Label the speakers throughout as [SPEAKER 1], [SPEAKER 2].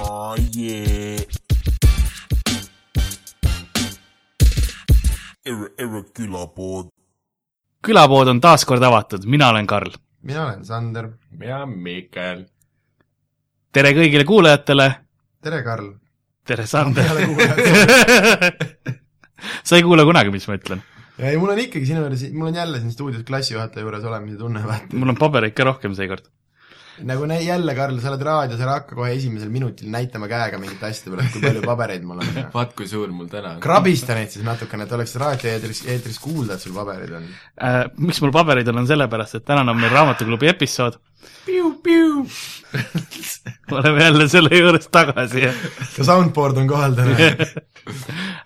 [SPEAKER 1] Oh yeah. Erre, erre külapood .
[SPEAKER 2] külapood on taas kord avatud , mina olen Karl .
[SPEAKER 3] mina olen Sander .
[SPEAKER 4] ja Mikkel .
[SPEAKER 2] tere kõigile kuulajatele ,
[SPEAKER 3] tere , Karl .
[SPEAKER 2] tere Sander
[SPEAKER 3] Peale kuulajad. .
[SPEAKER 2] sa ei kuule kunagi , mis ma ütlen .
[SPEAKER 3] ei , mul on ikkagi sinu juures , mul on jälle siin stuudios klassijuhataja juures olemise tunne , vaata .
[SPEAKER 2] mul on pabereid ka rohkem seekord .
[SPEAKER 3] nagu nä- jälle , Karl , sa oled raadios , ära hakka kohe esimesel minutil näitama käega mingite asjade peale , kui palju pabereid mul on .
[SPEAKER 4] vaat kui suur mul täna on .
[SPEAKER 3] krabista neid siis natukene , et oleks raadioeetris , eetris kuulda , et sul pabereid on .
[SPEAKER 2] Äh, Miks mul pabereid on , on sellepärast , et tänane on meil raamatuklubi episood . oleme jälle selle juures tagasi ja
[SPEAKER 3] ka soundboard on kohal täna .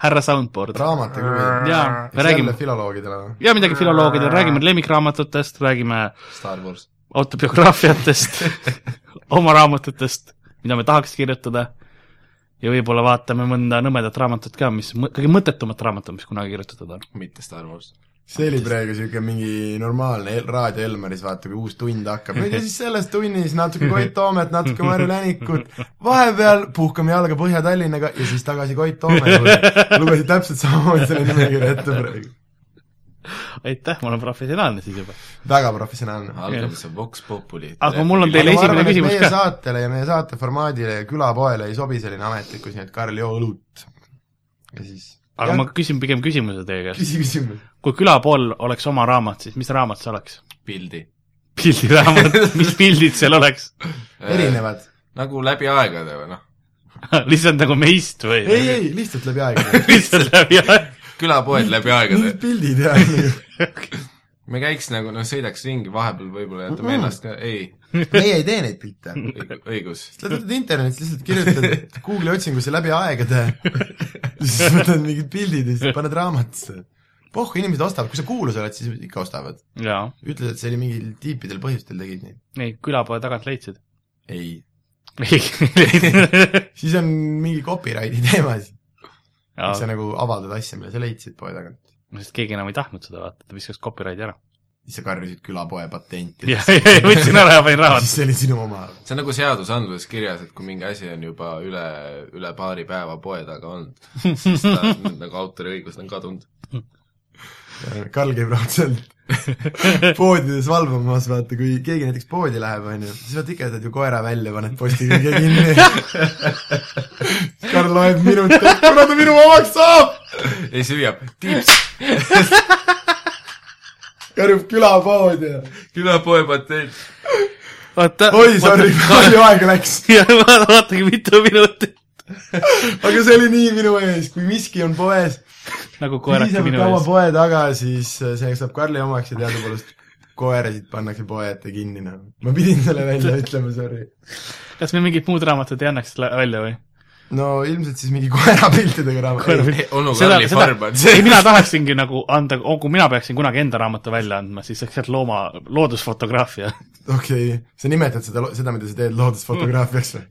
[SPEAKER 2] härra Soundboard .
[SPEAKER 3] raamatuklubi .
[SPEAKER 2] jaa , me
[SPEAKER 3] eks jälle
[SPEAKER 2] räägime ,
[SPEAKER 3] filoloogidele noh. või ?
[SPEAKER 2] ja midagi filoloogidele , räägime lemmikraamatutest , räägime
[SPEAKER 4] Star Wars .
[SPEAKER 2] autobiograafiatest , oma raamatutest , mida me tahaks kirjutada ja võib-olla vaatame mõnda nõmedat raamatut ka , mis , kõige mõttetumat raamatut , mis kunagi kirjutatud on .
[SPEAKER 4] mitte Star Wars .
[SPEAKER 3] see oli praegu niisugune mingi normaalne El- Raadio Elmaris , vaata , kui uus tund hakkab . nüüd ja siis selles tunnis natuke Koit Toomet , natuke Marju Länikut , vahepeal puhkame jalga Põhja-Tallinnaga ja siis tagasi Koit Toome juurde . lugesin täpselt samamoodi selle nimekirja ette praegu .
[SPEAKER 2] aitäh , ma olen professionaalne siis juba .
[SPEAKER 3] väga professionaalne .
[SPEAKER 4] algab see Vox Populi .
[SPEAKER 2] Aga mul on teile-
[SPEAKER 3] ma
[SPEAKER 2] esimene
[SPEAKER 3] arvan , et
[SPEAKER 2] küsimus
[SPEAKER 3] meie
[SPEAKER 2] ka.
[SPEAKER 3] saatele ja meie saate formaadile ja külapoele ei sobi selline ametlikkus , nii et Karl , joo õlut . ja siis
[SPEAKER 2] aga ja. ma küsin pigem küsimuse teie käest .
[SPEAKER 3] küsi küsimus .
[SPEAKER 2] kui külapool oleks oma raamat , siis mis raamat see oleks ?
[SPEAKER 4] pildi .
[SPEAKER 2] pildiraamat , mis pildid seal oleks ?
[SPEAKER 4] Äh,
[SPEAKER 3] erinevad .
[SPEAKER 4] nagu läbi aegade või noh ,
[SPEAKER 2] lihtsalt nagu meist või ?
[SPEAKER 3] ei , ei , lihtsalt läbi aegade .
[SPEAKER 2] lihtsalt läbi aeg-
[SPEAKER 4] külapoed läbi aegade
[SPEAKER 3] mingid . pildid jah
[SPEAKER 4] me käiks nagu noh , sõidaks ringi vahepeal võib-olla jätame ennast ka , ei ,
[SPEAKER 3] meie ei tee neid pilte .
[SPEAKER 4] õigus .
[SPEAKER 3] sa tuled internetist , lihtsalt kirjutad Google'i otsingusse läbi aegade , siis võtad mingid pildid ja siis paned raamatusse . Pohhu , inimesed ostavad , kui sa kuulus oled , siis ikka ostavad .
[SPEAKER 2] jaa ,
[SPEAKER 3] ütled , et see oli mingil tiipidel põhjustel tegid nii .
[SPEAKER 2] ei külapoe tagant leidsid ?
[SPEAKER 3] ei .
[SPEAKER 2] ei leidnud .
[SPEAKER 3] siis on mingi copyrighti teema siis , sa nagu avaldad asja , mille sa leidsid poe tagant .
[SPEAKER 2] sest keegi enam ei tahtnud seda vaadata , ta viskas copyrighti ära .
[SPEAKER 3] siis sa karjusid külapoe patenti .
[SPEAKER 2] jah , võtsin ära ja panin raamatu .
[SPEAKER 3] siis see oli sinu oma .
[SPEAKER 4] see on nagu seadusandluses kirjas , et kui mingi asi on juba üle , üle paari päeva poe taga olnud , siis ta nagu autoriõigused on kadunud .
[SPEAKER 3] Karl käib raudselt poodides valvamas , vaata , kui keegi näiteks poodi läheb , on ju , siis vaata ikka jätad ju koera välja , paned posti külge kinni . Karl loeb minut , kuna ta minu omaks saab ,
[SPEAKER 4] ja siis hüüab , tiips ,
[SPEAKER 3] karjub külapoodi ja
[SPEAKER 4] külapoe patent .
[SPEAKER 2] vaata ,
[SPEAKER 3] oi , sorry , palju aega läks .
[SPEAKER 2] vaatage mitu minutit .
[SPEAKER 3] aga see oli nii minu ees , kui miski on poes ,
[SPEAKER 2] nagu koerake
[SPEAKER 3] piisavalt
[SPEAKER 2] minu
[SPEAKER 3] kaua
[SPEAKER 2] ees .
[SPEAKER 3] poe taga , siis äh, see saab Karli omaks ja teadupoolest koerasid pannakse poe ette kinni , noh . ma pidin selle välja ütlema , sorry .
[SPEAKER 2] kas me mingid muud raamatud ei annaks lä- välja või ?
[SPEAKER 3] no ilmselt siis mingi koerapiltidega raamat .
[SPEAKER 4] onu Karli farm on
[SPEAKER 2] ei ,
[SPEAKER 4] see .
[SPEAKER 2] mina tahaksingi nagu anda , kui mina peaksin kunagi enda raamatu välja andma , siis oleks sealt looma , loodusfotograafia .
[SPEAKER 3] okei okay. , sa nimetad seda , seda , mida sa teed loodusfotograafiaks või ?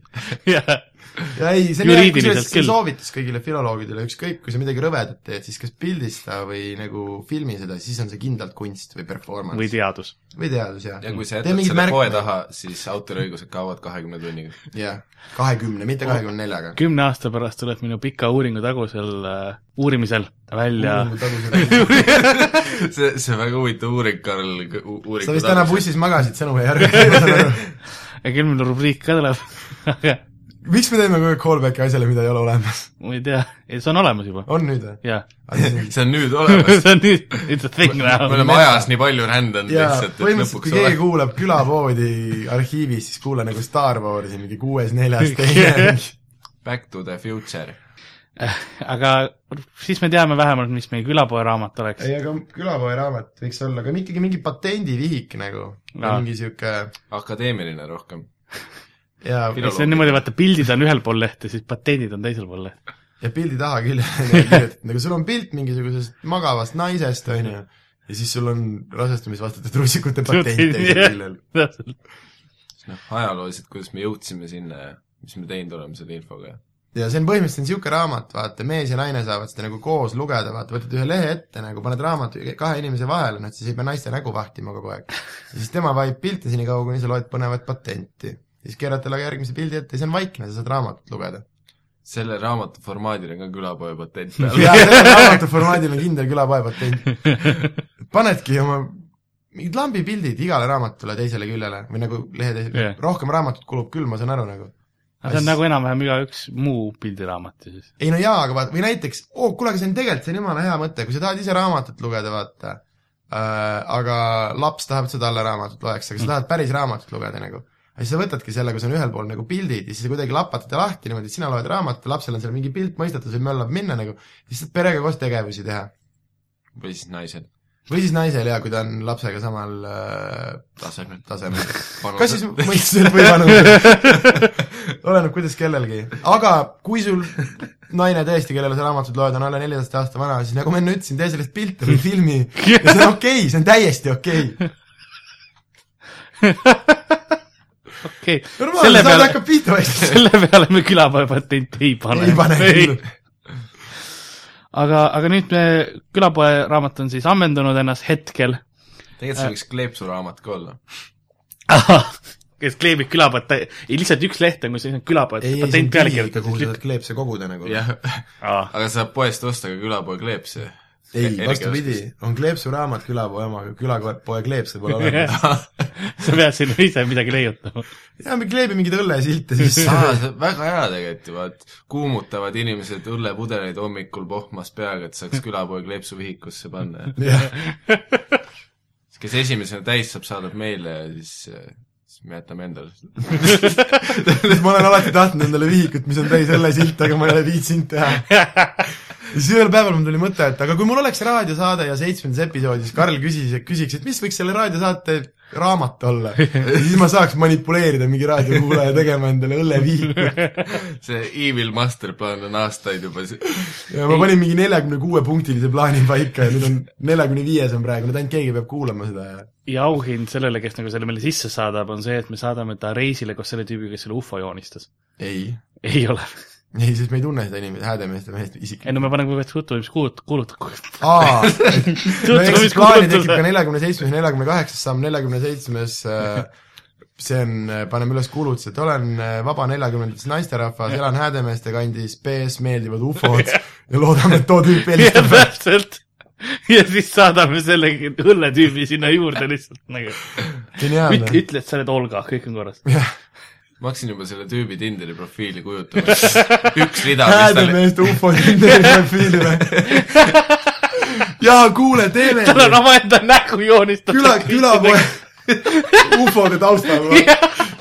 [SPEAKER 3] ja ei , see on jah ,
[SPEAKER 2] Juriidiliselt
[SPEAKER 3] kusjuures see
[SPEAKER 2] küll.
[SPEAKER 3] soovitus kõigile filoloogidele , ükskõik , kui sa midagi rõvedat teed , siis kas pildista või nagu filmi seda , siis on see kindlalt kunst või performance
[SPEAKER 2] või
[SPEAKER 3] või,
[SPEAKER 2] teadus .
[SPEAKER 3] või teadus , jah .
[SPEAKER 4] ja kui sa jätad selle poe . taha , siis autoriõigused kaovad kahekümne tunniga .
[SPEAKER 3] jah , kahekümne , mitte kahekümne neljaga .
[SPEAKER 2] kümne aasta pärast tuleb minu pika uuringu tagusel äh, uurimisel välja
[SPEAKER 3] Mm.
[SPEAKER 4] see , see on väga huvitav uuring , Karl , uuring .
[SPEAKER 3] sa vist täna . bussis magasid , sõnum jäi ära .
[SPEAKER 2] ja küll mul rubriik ka tuleb , aga
[SPEAKER 3] miks me teeme kogu aeg callback'i asjale , mida ei ole olemas ?
[SPEAKER 2] ma ei tea , see on olemas juba ,
[SPEAKER 3] on nüüd või ?
[SPEAKER 2] jah .
[SPEAKER 4] see on nüüd olemas .
[SPEAKER 2] see on nüüd , it's a thing
[SPEAKER 4] me
[SPEAKER 2] now .
[SPEAKER 4] oleme ajas nii palju rändanud
[SPEAKER 3] jaa ,
[SPEAKER 4] lihtsalt , et
[SPEAKER 3] põhimõtteliselt kui
[SPEAKER 4] lõpuks
[SPEAKER 3] keegi
[SPEAKER 4] ole .
[SPEAKER 3] kuulab külapoodi arhiivis , siis kuula nagu Star Warsi mingi kuues-neljas teine
[SPEAKER 4] Back to the future .
[SPEAKER 2] aga siis me teame vähemalt , mis meie külapoe raamat oleks .
[SPEAKER 3] ei , aga külapoe raamat võiks olla ka ikkagi mingi patendivihik nagu ,
[SPEAKER 2] Jaa.
[SPEAKER 3] mingi sihuke
[SPEAKER 4] akadeemiline rohkem .
[SPEAKER 3] ja ,
[SPEAKER 2] see on niimoodi , vaata pildid on ühel pool lehte , siis patendid on teisel pool lehte .
[SPEAKER 3] ja pildi taha küll , nagu sul on pilt mingisugusest magavast naisest , on ju , ja siis sul on rasestumisvastaste trussikute patent teisel küljel .
[SPEAKER 4] noh , ajalooliselt , kuidas me jõudsime sinna ja mis me teinud oleme selle infoga .
[SPEAKER 3] ja see on põhimõtteliselt niisugune raamat , vaata , mees ja naine saavad seda nagu koos lugeda , vaata , võtad ühe lehe ette nagu , paned raamatu kahe inimese vahele , noh , siis ei pea naiste nägu vahtima kogu aeg . ja siis tema vahib pilte senikaua , kuni sa loed põnevat patenti . siis keerad talle ka järgmise pildi ette ja see on vaikne , sa saad raamatut lugeda .
[SPEAKER 4] selle raamatu formaadil on ka külapoe patent peal .
[SPEAKER 3] ja sellel raamatu formaadil on kindel külapoe patent . panedki oma mingid lambipildid igale raamatule teisele küljele või nagu lehe teisele
[SPEAKER 2] Jah.
[SPEAKER 3] yeah. , rohkem raamatut kulub küll , ma saan aru nagu .
[SPEAKER 2] aga see on nagu enam-vähem igaüks muu pildiraamat ju siis .
[SPEAKER 3] ei no jaa , aga vaata , või näiteks , oo , kuule , aga see on tegelikult , see on jumala hea mõte , kui sa tahad ise raamatut lugeda , vaata äh, , aga laps tahab , et sa talle raamatut loeks , aga sa tahad päris raamatut lugeda nagu . ja siis sa võtadki selle , kui sul on ühel pool nagu pildid ja siis sa kuidagi lapatad ja lahti niimoodi , et sina loed raamatut ja lapsel on seal mingi pilt mõistetud , see möllab minna nagu , siis saad perega koos tegevusi teha .
[SPEAKER 4] või siis naised
[SPEAKER 3] või siis naisel jaa , kui ta on lapsega samal äh,
[SPEAKER 4] tasemel .
[SPEAKER 3] tasemel . kas siis mõistused või vanused ? oleneb , kuidas kellelgi , aga kui sul naine tõesti , kellele sa raamatud loed , on alla neljateist aasta vana , siis nagu ma enne ütlesin , tee sellest pilte või filmi ja see on okei okay, , see on täiesti okei okay. .
[SPEAKER 2] okei , selle
[SPEAKER 3] normaalne , sa
[SPEAKER 2] peale ,
[SPEAKER 3] hakkad pihta vaikselt .
[SPEAKER 2] selle peale me külapoe patenti ei pane .
[SPEAKER 3] ei pane küll .
[SPEAKER 2] aga , aga nüüd me , külapoe raamat on siis ammendanud ennast hetkel .
[SPEAKER 3] Äh.
[SPEAKER 4] tegelikult see võiks kleepsuraamat ka olla .
[SPEAKER 2] kes kleebib külapoed , ei lihtsalt üks leht on , kus on külapoed ,
[SPEAKER 3] ei , ei , see on
[SPEAKER 2] patent peale
[SPEAKER 3] pilliga ,
[SPEAKER 2] kirjutatud
[SPEAKER 3] kuhu . sa saad kleepse koguda nagu .
[SPEAKER 4] jah ,
[SPEAKER 2] aa ,
[SPEAKER 4] aga saab poest osta ka külapoe kleepse .
[SPEAKER 3] ei , vastupidi , on kleepsuraamat külapoe oma , külapoe kleepse pole olemas .
[SPEAKER 2] sa pead sinna ise midagi leiutama .
[SPEAKER 3] ja me kleebime mingeid õllesilte sisse .
[SPEAKER 4] aa , see on väga hea tegelikult ju , vaat kuumutavad inimesed õllepudeleid hommikul pohmas peaga , et saaks külapoe kleepsu vihikusse panna .
[SPEAKER 3] jah ,
[SPEAKER 4] kes esimesena täis saab , saadab meile ja siis , siis me jätame endale .
[SPEAKER 3] ma olen alati tahtnud endale vihikut , mis on täis õllesilte , aga ma ei ole viitsinud teha ja siis ühel päeval mul tuli mõte , et aga kui mul oleks raadiosaade ja seitsmendas episoodis Karl küsis , küsiks , et mis võiks selle raadiosaate raamat olla . siis ma saaks manipuleerida mingi raadiokuulaja tegema endale õllevihiku .
[SPEAKER 4] see Evil Masterplan on aastaid juba si-
[SPEAKER 3] ja ma panin mingi neljakümne kuue punktilise plaani paika ja nüüd on neljakümne viies on praegu , nüüd ainult keegi peab kuulama seda ja
[SPEAKER 2] ja auhind sellele , kes nagu selle meile sisse saadab , on see , et me saadame ta reisile koos selle tüübiga , kes selle ufo joonistas .
[SPEAKER 3] ei ,
[SPEAKER 2] ei ole .
[SPEAKER 3] ei , sest me ei tunne seda inimest , Häädemeeste meest
[SPEAKER 2] ei
[SPEAKER 3] isiklikult .
[SPEAKER 2] no me paneme kogu aeg tutvumis kuulut- , kuulutab .
[SPEAKER 3] aa , no eks siis plaani tekib ka
[SPEAKER 2] kuulutada .
[SPEAKER 3] neljakümne seitsmes , neljakümne kaheksas samm , neljakümne seitsmes äh, see on , paneme üles kuulutuse , et olen äh, vaba neljakümnendates naisterahvas , elan Häädemeeste kandis , BS meeldivad ufod ja loodame , et too tüüp
[SPEAKER 2] jah ,
[SPEAKER 3] helistab .
[SPEAKER 2] täpselt . ja siis saadame selle õlletüübi sinna juurde lihtsalt nagu . ütle ,
[SPEAKER 3] geniaalne .
[SPEAKER 2] ütle , et sa oled Olga , kõik on korras .
[SPEAKER 4] ma hakkasin juba selle tüübi Tinderi profiili kujutama . üks rida , mis tal ,
[SPEAKER 3] Häädemeeste ufod profiili või ? jaa , kuule , teeme
[SPEAKER 2] tal on omaenda nägu joonistatud .
[SPEAKER 3] küla , külapoe ufode taustal või ?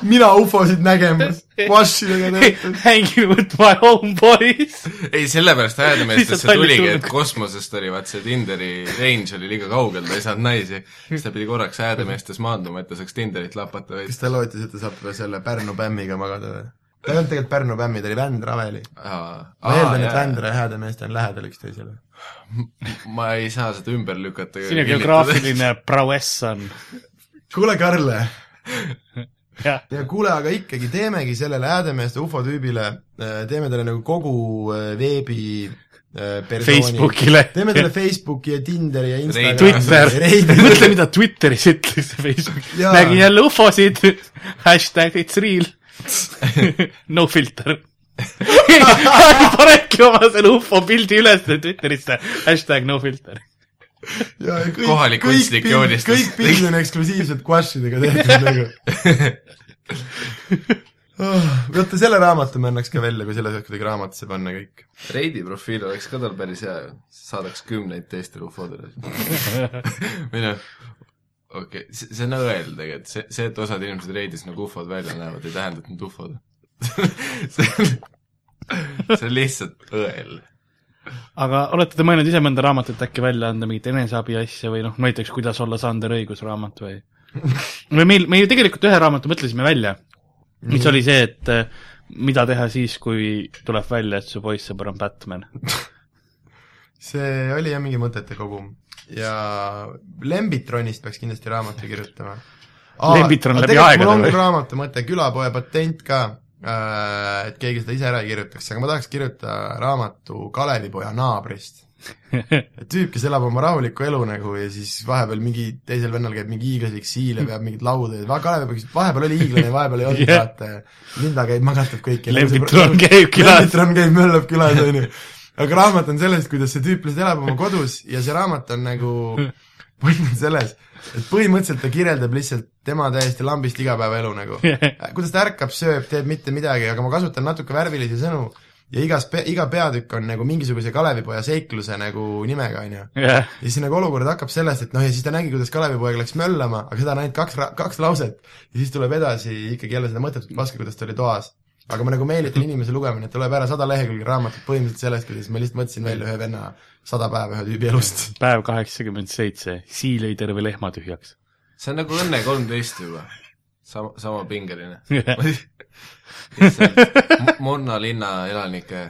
[SPEAKER 3] mina ufosid nägemas , vašidega töötan .
[SPEAKER 2] Hanging with my homeboys .
[SPEAKER 4] ei sellepärast
[SPEAKER 2] Lihtsalt
[SPEAKER 4] Häädemeestesse
[SPEAKER 2] hallid
[SPEAKER 4] tuligi , et
[SPEAKER 2] tulnukad.
[SPEAKER 4] kosmosest oli vaat see Tinderi range oli liiga kaugel , ta ei saanud naisi . siis ta pidi korraks Häädemeestes maanduma , et ta saaks Tinderit lapata veits
[SPEAKER 3] kas . ta lootis , et ta saab selle Pärnu bämmiga magada või ? ta ei olnud tegelikult Pärnu bämmi , ta oli Vänd Raveli . ma eeldan , et Vändra ja Häädemeeste on lähedal üksteisele .
[SPEAKER 4] ma ei saa seda ümber lükata .
[SPEAKER 2] sinu geograafiline prowess on .
[SPEAKER 3] kuule , Karle ,
[SPEAKER 2] jah ,
[SPEAKER 3] ja kuule , aga ikkagi teemegi sellele Häädemeeste ufotüübile , teeme talle nagu kogu äh, veebi äh, persooni.
[SPEAKER 2] Facebookile.
[SPEAKER 3] teeme talle Facebooki ja Tinderi ja
[SPEAKER 2] Twitter
[SPEAKER 3] Instagrami .,
[SPEAKER 2] mõtle , mida Twitteris ütles Facebookis .
[SPEAKER 3] Jaa.
[SPEAKER 2] nägin jälle ufosid , hashtag it's real . no filter . panedki oma selle ufo pildi üles Twitterisse , hashtag no filter .
[SPEAKER 4] Kohalik kunstnik joonistas.
[SPEAKER 3] kõik pildid on eksklusiivselt guašidega tehtud nagu oh, . vaata , selle raamatu ma annaks ka välja , kui selle saaks kuidagi raamatusse panna kõik .
[SPEAKER 4] Reidi profiil oleks ka tal päris hea , saadaks kümneid teistele ufodele . või noh , okei okay. , see on õel tegelikult , see , see , et osad inimesed Reidis nagu ufod välja näevad , ei tähenda , et nad ufod on . see on , see on lihtsalt õel .
[SPEAKER 2] aga olete te mõelnud ise mõnda raamatut äkki välja anda , mingit eneseabi asja või noh , näiteks Kuidas olla Sander õigusraamat või ? või meil , me ju tegelikult ühe raamatu mõtlesime välja , mis oli see , et eh, mida teha siis , kui tuleb välja , et su poissõber on Batman .
[SPEAKER 3] see oli jah mingi mõtete kogum ja Lembitronist peaks kindlasti raamatu kirjutama .
[SPEAKER 2] Lembitron läbi aegade
[SPEAKER 3] mul on
[SPEAKER 2] või?
[SPEAKER 3] küll raamatu mõte , külapoe patent ka , äh, et keegi seda ise ära ei kirjutaks , aga ma tahaks kirjutada raamatu Kalevipoja naabrist . tüüp , kes elab oma rahulikku elu nagu ja siis vahepeal mingi teisel vennal käib mingi hiiglaslik siil ja peab mingit lauda ja va- Kalev peaks , vahepeal oli hiiglane , vahepeal ei olnud
[SPEAKER 2] Jah.
[SPEAKER 3] yeah. , vaata ja Linda käib , magatab kõiki .
[SPEAKER 2] Lembitron käib külas .
[SPEAKER 3] Lembitron käib , möllab külas , on ju . aga raamat on sellest , kuidas see tüüp lihtsalt elab oma kodus ja see raamat on nagu , point on selles , et põhimõtteliselt ta kirjeldab lihtsalt tema täiesti lambist igapäevaelu nagu . kuidas ta ärkab , sööb , teeb mitte midagi , aga ma kasutan natuke värvilisi sõnu ja igas , iga peatükk on nagu mingisuguse Kalevipoja seikluse nagu nimega , on ju .
[SPEAKER 2] jah ,
[SPEAKER 3] ja siis nagu olukord hakkab sellest , et noh , ja siis ta nägi , kuidas Kalevipoeg läks möllama , aga seda on ainult kaks , kaks lauset . ja siis tuleb edasi ikkagi jälle seda mõttetut paska , kuidas ta oli toas . aga ma nagu meelitan inimese lugemine , et ta loeb ära sada lehekülge raamatut põhimõtteliselt sellest , kuidas ma lihtsalt mõtlesin välja ühe venna sada päeva ühe tüübi elust .
[SPEAKER 2] päev kaheksakümmend seitse , sii lõi terve lehma tühjaks .
[SPEAKER 4] see on nagu Õnne kolmteist juba . sama , sama pingeline . lihtsalt Monna linna elanike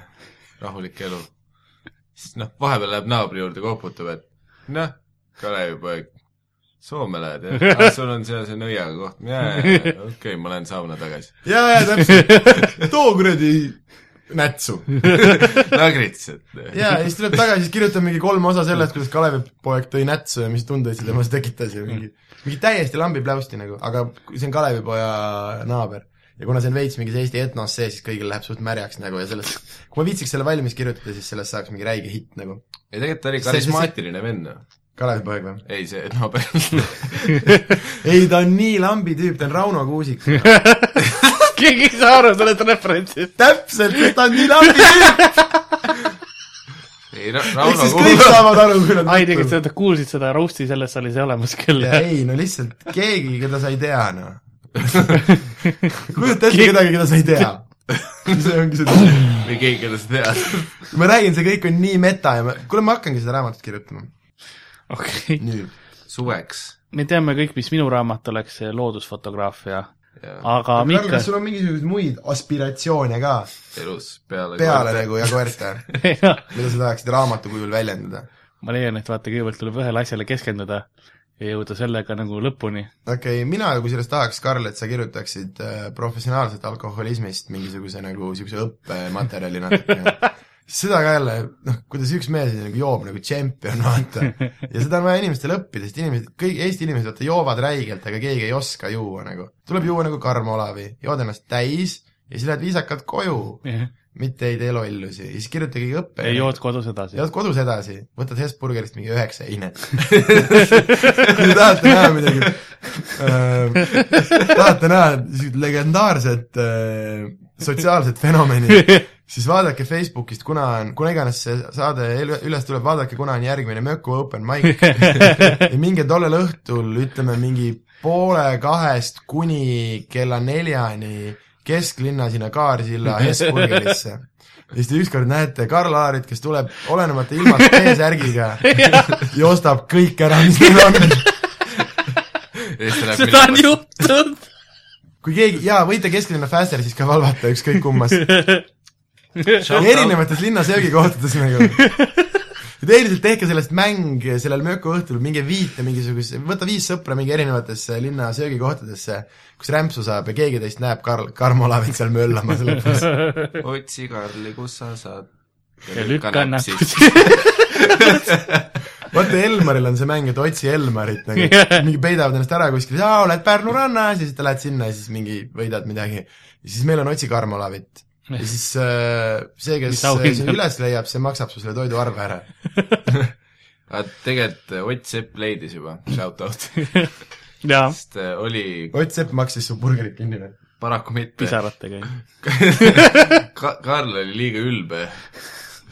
[SPEAKER 4] rahulik elu . siis noh , vahepeal läheb naabri juurde , koputab , et noh , Kalevipoeg , Soome lähed jah ? sul on seal see nõiaga koht , okei okay, , ma lähen sauna tagasi .
[SPEAKER 3] ja , ja täpselt , too kuradi nätsu .
[SPEAKER 4] Nagrits , et
[SPEAKER 3] ja , ja siis tuleb tagasi , siis kirjutab mingi kolm osa sellest , kuidas Kalevipoeg tõi nätsu ja mis tundeid see temas tekitas ja mingi , mingi täiesti lambi pläusti nagu , aga see on Kalevipoja naaber . ja kuna see on veits mingis Eesti etnos sees , siis kõigil läheb suht märjaks nagu ja sellest , kui ma viitsiks selle valmis kirjutada , siis sellest saaks mingi räige hitt nagu .
[SPEAKER 4] ei tegelikult ta oli
[SPEAKER 3] See- see- see-
[SPEAKER 4] karismaatiline vend , noh .
[SPEAKER 3] Kalevipoeg või ?
[SPEAKER 4] ei , see naaber
[SPEAKER 3] ei , ta on nii lambi tüüp , ta on Rauno Kuusik .
[SPEAKER 2] keegi ei saa aru sellest referentsist .
[SPEAKER 3] täpselt , ta on nii lambi tüüp ,
[SPEAKER 4] ei ,
[SPEAKER 3] ehk
[SPEAKER 4] Rauno
[SPEAKER 3] siis kõik
[SPEAKER 4] Kuusik ,
[SPEAKER 3] saavad aru , kui nad
[SPEAKER 2] ai , tegelikult sa kuulsid seda roast'i selles saalis ei olemas küll .
[SPEAKER 3] ja ei , no lihtsalt keegi , keda sa ei tea , noh . kujuta ette kedagi , keda sa ei tea . see ongi see ,
[SPEAKER 4] või keegi , keda sa tead .
[SPEAKER 3] ma räägin , see kõik on nii meta ja ma , kuule , ma hakkangi seda raamatut kirjutama
[SPEAKER 2] okei ,
[SPEAKER 3] nüüd .
[SPEAKER 4] suveks .
[SPEAKER 2] me teame kõik , mis minu raamat oleks , see loodusfotograafia ,
[SPEAKER 4] ja
[SPEAKER 2] aga
[SPEAKER 3] Karl ,
[SPEAKER 2] Mikk
[SPEAKER 3] kas , sul on mingisuguseid muid aspiratsioone ka
[SPEAKER 4] elus peale .
[SPEAKER 3] peale nagu ja koerte , mida sa tahaksid raamatu kujul väljendada ?
[SPEAKER 2] ma leian , et vaata , kõigepealt tuleb ühele asjale keskenduda ja jõuda sellega nagu lõpuni .
[SPEAKER 3] okei okay, , mina kusjuures tahaks , Karl , et sa kirjutaksid äh, professionaalselt alkoholismist mingisuguse nagu niisuguse õppematerjali natukene . seda ka jälle , noh , kuidas üks mees nagu joob nagu tšempion , vaata . ja seda on vaja inimestele õppida , sest inimesed , kõik Eesti inimesed , vaata , joovad räigelt , aga keegi ei oska juua nagu . tuleb juua nagu Karmo Olavi , jood ennast täis ja siis lähed viisakalt koju , mitte ei tee lollusi , siis kirjuta kõige õppe .
[SPEAKER 2] ja jood kodus edasi .
[SPEAKER 3] jood kodus edasi , võtad Hesburgerist mingi üheksa heinet . kui tahate näha midagi
[SPEAKER 2] Ehm,
[SPEAKER 3] äh, , tahate näha niisugust legendaarset äh, sotsiaalset fenomeni , siis vaadake Facebookist , kuna on , kuna iganes see saade eel- üles tuleb , vaadake , kuna on järgmine Möku Open Mic ja minge tollel õhtul , ütleme mingi poole kahest kuni kella neljani kesklinna sinna Kaarsilla Hesburgerisse . ja siis te ükskord näete Karl Aarit , kes tuleb olenemata ilmast T-särgiga ja ostab kõik ära , mis tal on .
[SPEAKER 2] seda on . juhtunud .
[SPEAKER 3] kui keegi , jaa , võite kesklinna Fässer siis ka valvata , ükskõik kummas . erinevates linna söögikohtades nagu . et üldiselt tehke sellest mäng sellel möökuõhtul , minge viite mingisuguse , võta viis sõpra mingi erinevatesse linna söögikohtadesse , kus rämpsu saab ja keegi teist näeb Karl , Karmo Olavit seal möllamas lõpuks .
[SPEAKER 4] otsi , Karli , kus sa saad .
[SPEAKER 2] ja lükka näpust .
[SPEAKER 3] vaata , Elmaril on see mäng , et otsi Elmarit nagu
[SPEAKER 2] Jah.
[SPEAKER 3] yeah. , mingi peidavad ennast ära kuskil , aa , oled Pärnu rannas ja siis ta lähed sinna ja siis mingi võidad midagi . ja siis meil on otsi Karmo Olavit . ja siis äh, see , kes
[SPEAKER 2] Mis auhind
[SPEAKER 3] sinna
[SPEAKER 2] on?
[SPEAKER 3] üles leiab , see maksab su selle toiduarve ära .
[SPEAKER 4] aga tegelikult äh, Ott Sepp leidis juba shout-out ,
[SPEAKER 2] jaa ,
[SPEAKER 4] sest äh, oli
[SPEAKER 3] Ott Sepp maksis su burgerit kinni või ?
[SPEAKER 4] paraku mitte .
[SPEAKER 2] pisaratega .
[SPEAKER 4] Ka- , Karl oli liiga ülbe ,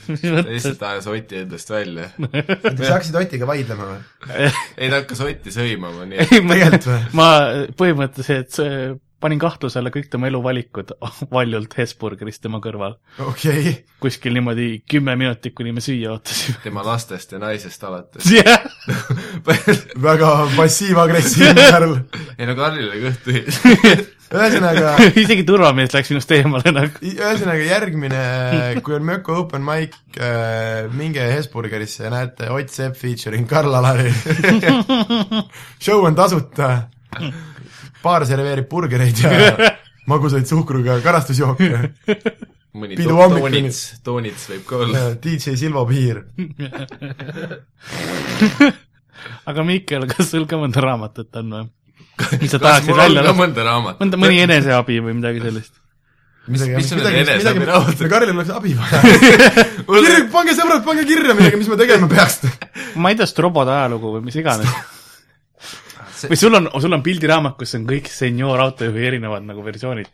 [SPEAKER 4] ta lihtsalt ajas Oti endast välja .
[SPEAKER 3] kas sa hakkasid Otiga vaidlema või ?
[SPEAKER 4] ei , ta hakkas Otti sõimama , nii et
[SPEAKER 2] tegelikult
[SPEAKER 3] tegelikult või ?
[SPEAKER 2] ma põhimõtteliselt äh, panin kahtluse alla kõik tema eluvalikud valjult Hesburgerist tema kõrval .
[SPEAKER 3] okei okay. ,
[SPEAKER 2] kuskil niimoodi kümme minutit , kuni me süüa ootasime .
[SPEAKER 4] tema lastest ja naisest alates .
[SPEAKER 2] jah ,
[SPEAKER 3] väga passiivagressiivne Karl .
[SPEAKER 4] ei no Karlil oli kõht tühi .
[SPEAKER 3] ühesõnaga ,
[SPEAKER 2] isegi turvamees läks minust eemale nagu .
[SPEAKER 3] ühesõnaga järgmine , kui on Mökko Open Mic , minge Hesburgerisse ja näete Ott Sepp featuring Karl Alari . show on tasuta , baar serveerib burgereid ja magusaid suhkruga karastusjooke .
[SPEAKER 4] mõni
[SPEAKER 3] Pidu
[SPEAKER 4] to-
[SPEAKER 3] hommikul.
[SPEAKER 4] toonits , toonits võib ka olla .
[SPEAKER 3] DJ Silvo Piir .
[SPEAKER 2] aga Mihkel , kas sul ka mõnda raamatut on või ? mis sa
[SPEAKER 4] kas
[SPEAKER 2] tahaksid
[SPEAKER 4] mul on
[SPEAKER 2] välja
[SPEAKER 4] ka
[SPEAKER 2] lasta ?
[SPEAKER 4] mõnda raamat ?
[SPEAKER 2] mõnda , mõni eneseabi või midagi sellist .
[SPEAKER 4] mis , mis on need eneseabiraamatud ?
[SPEAKER 3] no Karlil oleks abi vaja . kirja , pange sõbrad , pange kirja midagi , mis me tegema peaks .
[SPEAKER 2] ma ei tea , Strobode ajalugu või mis iganes . või sul on , sul on pildiraamat , kus on kõik senior autojuhi erinevad nagu versioonid ,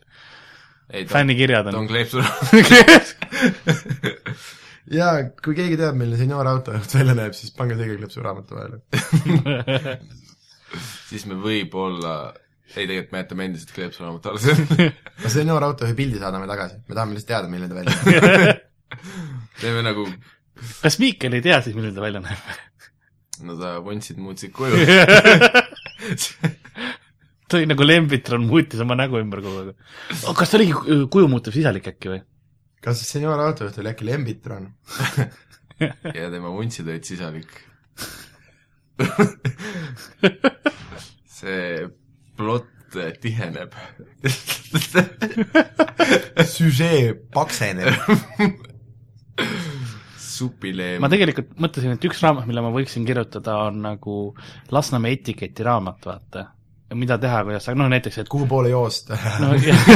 [SPEAKER 4] ei , ta on ,
[SPEAKER 2] fännikirjad
[SPEAKER 4] ta on
[SPEAKER 2] on .
[SPEAKER 4] kleepsu raamat .
[SPEAKER 3] ja kui keegi teab , milline senior autojuht välja näeb , siis pange see ka klõpsu raamatu vahele .
[SPEAKER 4] siis me võib-olla , ei tegelikult me jätame endiselt kleepsu raamatu alles .
[SPEAKER 3] aga senior autojuhi pildi saadame tagasi , me tahame lihtsalt teada , milline ta välja näeb .
[SPEAKER 4] teeme nagu ,
[SPEAKER 2] kas Mihkel ei tea siis , milline ta välja näeb ?
[SPEAKER 4] no ta vuntsid muutsid koju .
[SPEAKER 2] ta oli nagu Lembitron , muutis oma nägu ümber kogu aeg . kas ta oligi ku- kuju muutuv sisalik äkki või ?
[SPEAKER 3] kas see senior autojuht oli äkki Lembitron ?
[SPEAKER 4] ja tema vuntsid olid sisalik . see plott tiheneb .
[SPEAKER 3] süžee pakseneb .
[SPEAKER 4] supileem
[SPEAKER 2] ma . tegelikult mõtlesin , et üks raamat , mille ma võiksin kirjutada , on nagu Lasnamäe etiketiraamat , vaata . mida teha , kuidas , noh näiteks , et
[SPEAKER 3] kuhu poole joosta ?
[SPEAKER 2] no,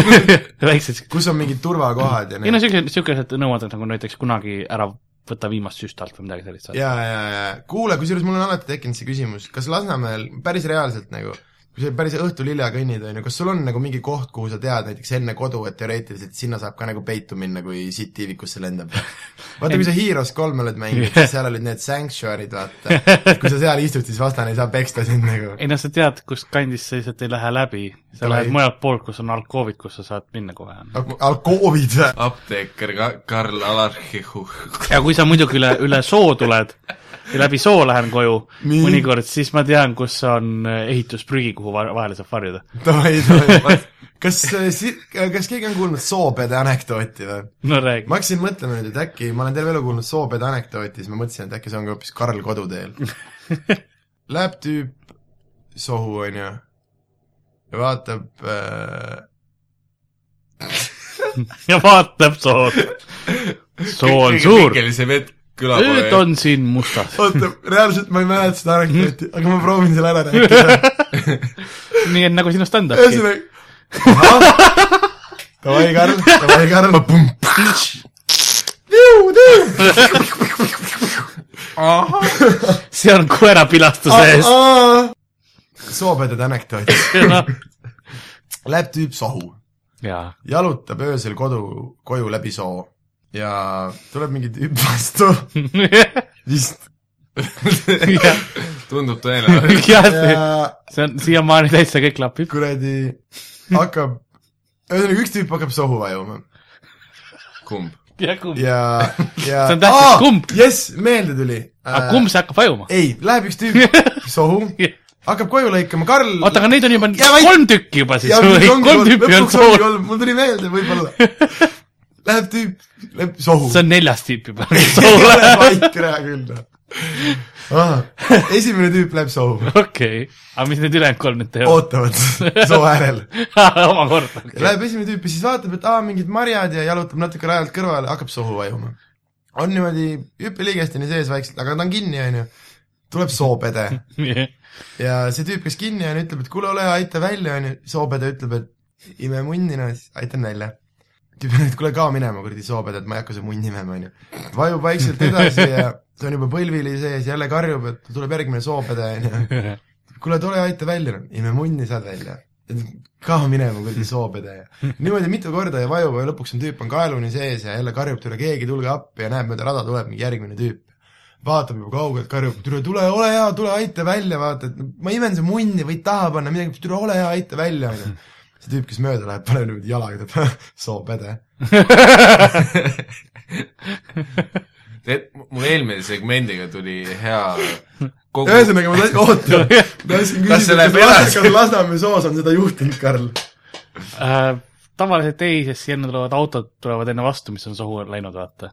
[SPEAKER 2] väiksed ,
[SPEAKER 3] kus on mingid turvakohad ja
[SPEAKER 2] ei no
[SPEAKER 3] need ?
[SPEAKER 2] siuksed , siukesed nõuanded nagu näiteks kunagi ära võta viimast süstalt või midagi sellist .
[SPEAKER 3] ja , ja , ja kuule , kusjuures mul on alati tekkinud see küsimus , kas Lasnamäel päris reaalselt nagu , kui sa päris õhtul hilja kõnnid , on ju , kas sul on nagu mingi koht , kuhu sa tead näiteks enne kodu , et teoreetiliselt sinna saab ka nagu peitu minna , kui sitt tiivikusse lendab ? vaata , kui sa Heroes kolme oled mänginud , siis seal olid need sanctuary'd , vaata . kui sa seal istud , siis vastane ei saa peksta sind nagu .
[SPEAKER 2] ei noh , sa tead , kus kandis sa lihtsalt ei lähe läbi , sa
[SPEAKER 3] Ta
[SPEAKER 2] lähed
[SPEAKER 3] ei-
[SPEAKER 2] mujalt poolt , kus on alkoovid , kus sa saad minna kohe .
[SPEAKER 3] Alkoovid või ?
[SPEAKER 4] apteeker Ka- Karl Alarhihu .
[SPEAKER 2] ja kui sa muidugi üle , üle soo tuled ja läbi soo lähen koju
[SPEAKER 3] Nii.
[SPEAKER 2] mõnikord , siis ma tean , kus on ehitusprügi , kuhu va- vahele saab varjuda .
[SPEAKER 3] davai , davai . kas äh, si- , kas keegi on kuulnud soopede anekdooti või ?
[SPEAKER 2] no räägi .
[SPEAKER 3] ma hakkasin mõtlema nüüd , et äkki , ma olen terve elu kuulnud soopede anekdooti , siis ma mõtlesin , et äkki see on ka hoopis Karl Koduteel . Läheb tüüp sohu , onju , ja vaatab äh, ,
[SPEAKER 2] ja vaatab sood . soo on suur ,
[SPEAKER 4] see vett kõlab .
[SPEAKER 2] nüüd on siin mustas .
[SPEAKER 3] oota , reaalselt ma ei mäleta seda anekdooti , aga ma proovin selle ära rääkida .
[SPEAKER 2] nii et nagu sinu stand-up'i .
[SPEAKER 3] ühesõnaga , davai , Karl , davai , Karl ,
[SPEAKER 2] see on koera pilastuse ees .
[SPEAKER 3] soopedade Ah, anekdoot . Läheb tüüp sohu
[SPEAKER 2] jaa .
[SPEAKER 3] jalutab öösel kodu , koju läbi soo ja tuleb mingi tüüp vastu , vist ,
[SPEAKER 4] tundub tõenäoline .
[SPEAKER 2] jah ,
[SPEAKER 3] ja
[SPEAKER 2] see on siiamaani täitsa kõik klapib .
[SPEAKER 3] kuradi hakkab , ühesõnaga üks tüüp hakkab sohu vajuma
[SPEAKER 4] kumb ?
[SPEAKER 2] aga
[SPEAKER 3] ja , ja
[SPEAKER 2] See on tähtis, kumb?
[SPEAKER 3] jess , meelde tuli .
[SPEAKER 2] kumb see hakkab vajuma ?
[SPEAKER 3] ei , läheb üks tüüp sohu , hakkab koju lõikama , Karl
[SPEAKER 2] oota , aga neid on juba
[SPEAKER 3] Ja vaid-
[SPEAKER 2] kolm tükki juba siis
[SPEAKER 3] ja
[SPEAKER 2] või
[SPEAKER 3] nüüd
[SPEAKER 2] kolm
[SPEAKER 3] ongi kolm-
[SPEAKER 2] tüüpi on
[SPEAKER 3] lõpuks ongi
[SPEAKER 2] sool .
[SPEAKER 3] kolm , mul tuli meelde võib-olla . Läheb tüüp , läheb sohu
[SPEAKER 2] see on neljas tüüp juba
[SPEAKER 3] ole
[SPEAKER 2] soole .
[SPEAKER 3] vait , tere küll . esimene tüüp läheb sohu ,
[SPEAKER 2] okei , aga mis need ülejäänud kolm nüüd teevad ?
[SPEAKER 3] ootavad soo äärel .
[SPEAKER 2] omakorda .
[SPEAKER 3] Läheb esimene tüüp ja siis vaatab , et aa , mingid marjad ja jalutab natuke rajalt kõrvale , hakkab sohu vajuma . on niimoodi hüppeliigesteni sees vaikselt , aga ta on kinni , onju . tuleb soopede ja see tüüp , kes kinni on , ütleb , et kuule , ole hea , aita välja , onju . soopede ütleb , et ime munnina , siis aitan välja . tüüp ütleb , et kuule , kao minema , kuradi soopede , et ma ei hakka su munni imema , onju . vajub vaikselt edasi ja ta on juba põlvili sees , jälle karjub , et tuleb järgmine soopede , onju kuule , tule aita välja , ime munni saad välja . kao minema kuradi soopede ja niimoodi mitu korda ja vajub ja lõpuks on tüüp on kaeluni sees ja jälle karjub , tule keegi , tulge appi ja näeb mööda rada tuleb mingi järgmine tüüp . vaatab juba kaugelt , karjub , tule , tule , ole hea , tule aita välja , vaata , et ma imen su munni , võid taha panna midagi , tule ole hea , aita välja , onju . see tüüp , kes mööda läheb , paneb niimoodi jalaga , ütleb soopede .
[SPEAKER 4] tead , mul eelmise segmendiga tuli hea kogu ,
[SPEAKER 3] ühesõnaga , ma tahtsin , oota , ma tahtsin
[SPEAKER 4] Kas see
[SPEAKER 3] küsida ,
[SPEAKER 4] läheb
[SPEAKER 3] kas Las-
[SPEAKER 4] edasi?
[SPEAKER 3] kas Lasnamäe soos on seda juhtunud , Karl ?
[SPEAKER 2] Äh, tavaliselt ei , sest siia enne tulevad autod tulevad enne vastu , mis on sohu läinud , vaata .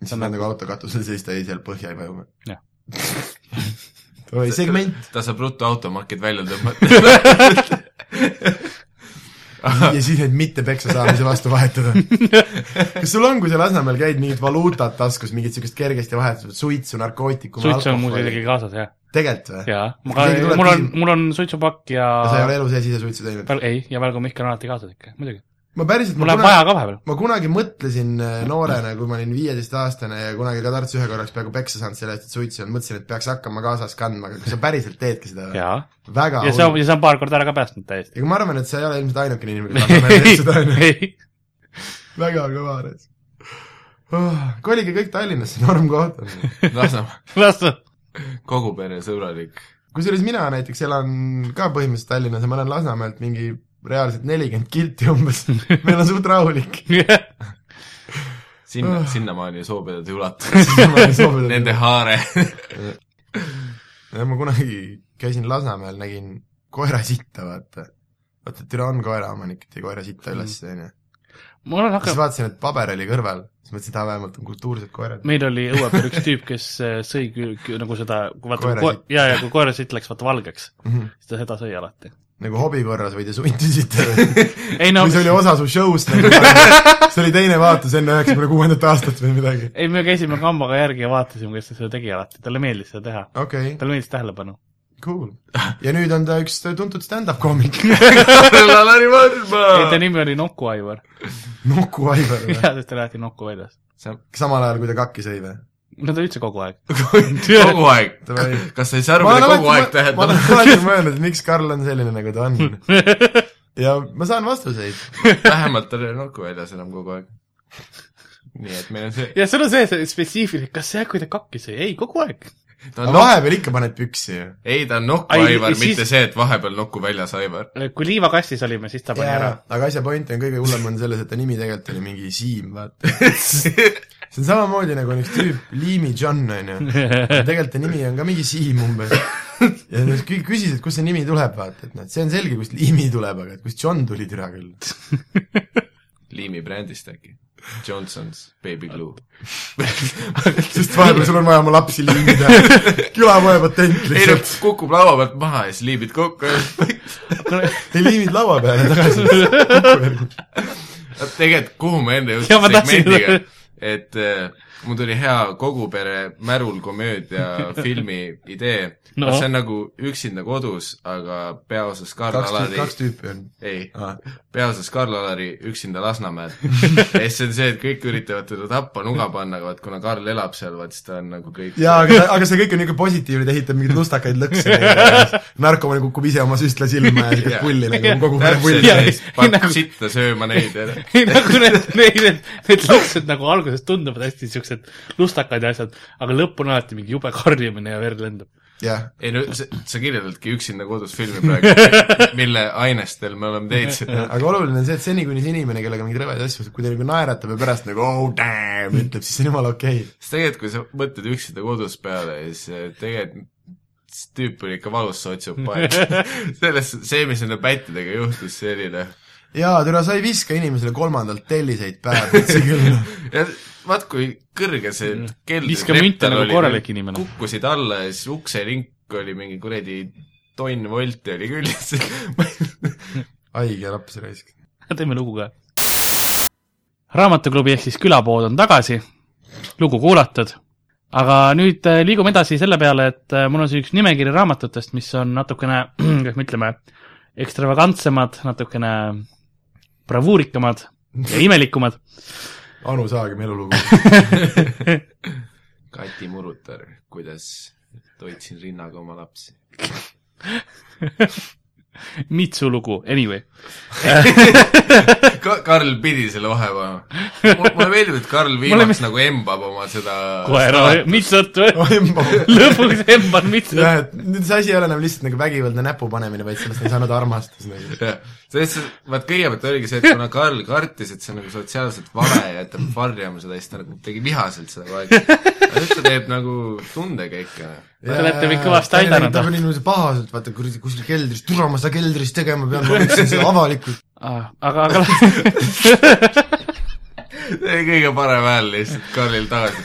[SPEAKER 3] siis on nagu auto katusel seista ja seal põhja ei vajuma .
[SPEAKER 2] Jah.
[SPEAKER 3] davai , segment .
[SPEAKER 4] ta saab ruttu automarkid välja tõmmata .
[SPEAKER 3] ja siis need mitte peksa saamise vastu vahetada . kas sul on , kui sa Lasnamäel käid , mingit valuutat taskus , mingit siukest kergesti vahetused , suitsu , narkootikume ,
[SPEAKER 2] suits on mul isegi kaasas jah ,
[SPEAKER 3] tegelikult või ?
[SPEAKER 2] jaa .
[SPEAKER 3] Keegi tuleb
[SPEAKER 2] mul on
[SPEAKER 3] küsim- ,
[SPEAKER 2] mul on suitsupakk ja
[SPEAKER 3] sa ei ole elu sees ise suitsu teinud ?
[SPEAKER 2] Väl- ei , ja välgumihkel on alati kaasas ikka , muidugi .
[SPEAKER 3] ma päriselt ,
[SPEAKER 2] mul
[SPEAKER 3] ma
[SPEAKER 2] läheb
[SPEAKER 3] kunagi ,
[SPEAKER 2] vaja ka vahepeal .
[SPEAKER 3] ma kunagi mõtlesin äh, noorena , kui ma olin viieteistaastane ja kunagi ka Tartus ühe korraks peaaegu peksa saanud selle eest , et suitsu ei olnud , mõtlesin , et peaks hakkama kaasas kandma , aga kas sa päriselt teedki seda või ?
[SPEAKER 2] jaa .
[SPEAKER 3] väga
[SPEAKER 2] ja see on ,
[SPEAKER 3] hull .
[SPEAKER 2] ja see on paar korda ära ka päästnud täiesti .
[SPEAKER 3] ega ma arvan , et sa ei ole ilmselt ainukene inimene , kes Lasnamäel teeb seda , on ju . väga kõva arves oh, . kolige kõik Tallinnasse , norm koht on .
[SPEAKER 4] Lasnamäe ,
[SPEAKER 2] las ta ,
[SPEAKER 4] kogu pere sõbralik .
[SPEAKER 3] kusjuures mina näiteks elan ka põhimõtteliselt Tallinnas ja ma olen Lasnamäelt mingi reaalselt nelikümmend kilti umbes . meil on suht rahulik .
[SPEAKER 4] sinna
[SPEAKER 3] Ah. ,
[SPEAKER 4] sinnamaani soopedad ei ulatu . Nende haare .
[SPEAKER 3] ma kunagi käisin Lasnamäel , nägin koera sitta , vaata . vaata , türa on koeraomanik , et ei koera sitta ülesse , onju .
[SPEAKER 2] mul on
[SPEAKER 3] siis
[SPEAKER 2] hakanud ,
[SPEAKER 3] vaatasin , et paber oli kõrval , siis mõtlesin , et aa , vähemalt on kultuursed koerad .
[SPEAKER 2] meil oli õue peal üks tüüp , kes äh, sõi kü- kü- nagu seda , kui vaata
[SPEAKER 3] Koera ,
[SPEAKER 2] ja , ja kui koera siit läks vaata valgeks ,
[SPEAKER 3] Mhm.
[SPEAKER 2] siis ta seda sõi alati .
[SPEAKER 3] nagu hobi korras või te sundisite või ?
[SPEAKER 2] ei no
[SPEAKER 3] no, , mis oli osa su show'st nagu , see oli teine vaatus enne üheksakümne kuuendat aastat või midagi .
[SPEAKER 2] ei me käisime kambaga järgi ja vaatasime , kuidas ta seda tegi alati , talle meeldis seda teha .
[SPEAKER 3] okei okay, ,
[SPEAKER 2] talle meeldis tähelepanu .
[SPEAKER 3] cool . ja nüüd on ta üks tuntud stand-up koomik ,
[SPEAKER 4] Karl-Alari
[SPEAKER 2] ei , ta
[SPEAKER 4] Varma .
[SPEAKER 2] nimi oli Nuku Aivar .
[SPEAKER 3] Nuku Aivar või ?
[SPEAKER 2] jaa , sest ta läheti Nuku väljas .
[SPEAKER 3] samal ajal , kui ta kakki sõi või ?
[SPEAKER 2] no ta üldse kogu aeg .
[SPEAKER 4] kogu aeg .
[SPEAKER 3] ta või ?
[SPEAKER 4] kas sa ei saa aru , mida kogu aeg
[SPEAKER 3] ma
[SPEAKER 4] tähendab
[SPEAKER 3] olen ? alati mõelnud , et miks Karl on selline , nagu ta on . ja ma saan vastuseid .
[SPEAKER 4] vähemalt tal ei ole nokku väljas enam kogu aeg . nii et meil on see ,
[SPEAKER 2] ja sul on see, see spetsiifiline , kas see , kui ta kakki sõi , ei , kogu aeg .
[SPEAKER 4] ta on
[SPEAKER 3] aga
[SPEAKER 4] nokk ,
[SPEAKER 3] vahepeal ikka paned püksi ju .
[SPEAKER 4] ei ta on nokku
[SPEAKER 2] Ai,
[SPEAKER 4] Aivar ,
[SPEAKER 2] siis-
[SPEAKER 4] mitte see , et vahepeal nokku väljas Aivar .
[SPEAKER 2] kui liivakastis olime , siis ta pani ära .
[SPEAKER 3] aga asja point on kõige hullem on selles , et ta nimi tegelikult oli mingi Siim , vaata . see on samamoodi nagu on üks tüüp , Liimi John on ju . tegelikult ta nimi on ka mingi Siim umbes . ja nad kü- küsisid , kust see nimi tuleb , vaata , et noh , et see on selge , kust Liimi tuleb , aga et kust John tuli türa küll .
[SPEAKER 4] liimi brändist äkki . Johnson's Baby Blue .
[SPEAKER 3] sest vahepeal sul on vaja oma lapsi liimida . külapoe patent
[SPEAKER 4] ei no
[SPEAKER 3] lihtsalt .
[SPEAKER 4] kukub laua pealt maha ja siis liibid kokku ja
[SPEAKER 3] ei liimid laua peale tagasi .
[SPEAKER 4] Vot tegelikult , kuhu ma enne
[SPEAKER 2] Jaa, ma
[SPEAKER 4] jõudsin
[SPEAKER 2] tahtsin
[SPEAKER 4] segmendiga
[SPEAKER 2] öelda. ,
[SPEAKER 4] et äh, mul tuli hea kogupere märulkomöödia filmi idee
[SPEAKER 2] No.
[SPEAKER 4] no. . see on nagu Üksinda kodus , aga peaosas Karl
[SPEAKER 3] kaks tüüpi ,
[SPEAKER 4] Alari ,
[SPEAKER 3] kaks tüüpi on .
[SPEAKER 4] ei ,
[SPEAKER 3] Ah.
[SPEAKER 4] peaosas Karl Alari Üksinda Lasnamäel . ja siis on see , et kõik üritavad teda tappa , nuga panna , aga vaat kuna Karl elab seal , vaat siis ta on nagu kõik
[SPEAKER 3] jaa , aga , aga see kõik on niisugune positiivne , ta ehitab mingeid lustakaid lõkse . narkomaan kukub ise oma süstla silma ja siukest
[SPEAKER 4] Jaa.
[SPEAKER 3] pulli nagu kogu aeg
[SPEAKER 4] täpselt ,
[SPEAKER 3] pulli
[SPEAKER 2] Jaa.
[SPEAKER 4] ja siis paneb
[SPEAKER 2] Nagu-
[SPEAKER 4] sitta sööma neid ja
[SPEAKER 2] ei nagu need , need , need , need lapsed nagu alguses tunduvad hästi siuksed lustakad ja asjad , aga lõpp on alati mingi jube karjumine ja verd lendab .
[SPEAKER 3] jah ,
[SPEAKER 4] ei no sa, sa kirjeldadki Üksinda kodus filmi praegu , mille ainestel me oleme teinud seda .
[SPEAKER 3] aga oluline on see , et seni , kuni see inimene , kellega mingeid rõvedaid asju , kui ta nagu naeratab ja pärast nagu oh damn ütleb , siis see on jumala okei okay. .
[SPEAKER 4] sest tegelikult , kui sa mõtled üksinda kodus peale , siis äh, tegelikult see tüüp oli ikka valus sotsiopaat . selles , see , mis nende pättidega juhtus , see oli noh ,
[SPEAKER 3] jaa , türa , sa ei viska inimesele kolmandalt telliseid pähe , võtsi küll .
[SPEAKER 4] ja vaat kui kõrge see
[SPEAKER 2] Mm.
[SPEAKER 4] keldri
[SPEAKER 2] Viska münte nagu korralik inimene.
[SPEAKER 4] kukkusid alla ja siis ukselink oli mingi kuradi tonn volti oli küljes .
[SPEAKER 3] haige laps raisk .
[SPEAKER 2] teeme lugu ka . raamatuklubi ehk siis külapood on tagasi , lugu kuulatud , aga nüüd äh, liigume edasi selle peale , et äh, mul on siin üks nimekiri raamatutest , mis on natukene , kuidas me ütleme , ekstravagantsemad , natukene bravuurikamad ja imelikumad .
[SPEAKER 3] Anu Saagem elulugu .
[SPEAKER 4] Kati Murutar , kuidas toitsin rinnaga oma lapsi .
[SPEAKER 2] Mitsu lugu , anyway .
[SPEAKER 4] Ka- , Karl pidi selle vahe panema . mulle meeldib , et Karl viimaks nagu embab oma seda
[SPEAKER 2] koera , mits otsa , lõpuks emban mits otsa .
[SPEAKER 3] jah , et nüüd see asi ei ole enam lihtsalt nagu vägivaldne näpu panemine , vaid sellest ei saanud armastus nagu .
[SPEAKER 4] jah , selles suhtes , vaat kõigepealt oligi see , et kuna Karl kartis , et see on nagu sotsiaalselt vale ja et ta peab varjama seda , siis ta nagu tegi vihaselt seda kogu aeg . aga nüüd ta teeb nagu tundekäike .
[SPEAKER 2] Te olete mind kõvasti aidanud.
[SPEAKER 3] ta pani niimoodi pahaselt , vaata kuradi kuskil keldris , türa ma seda keldris tegema pean , ma võtsin seda avalikult .
[SPEAKER 2] aga , Ah, aga
[SPEAKER 4] see oli kõige parem hääl lihtsalt Karlil tagasi .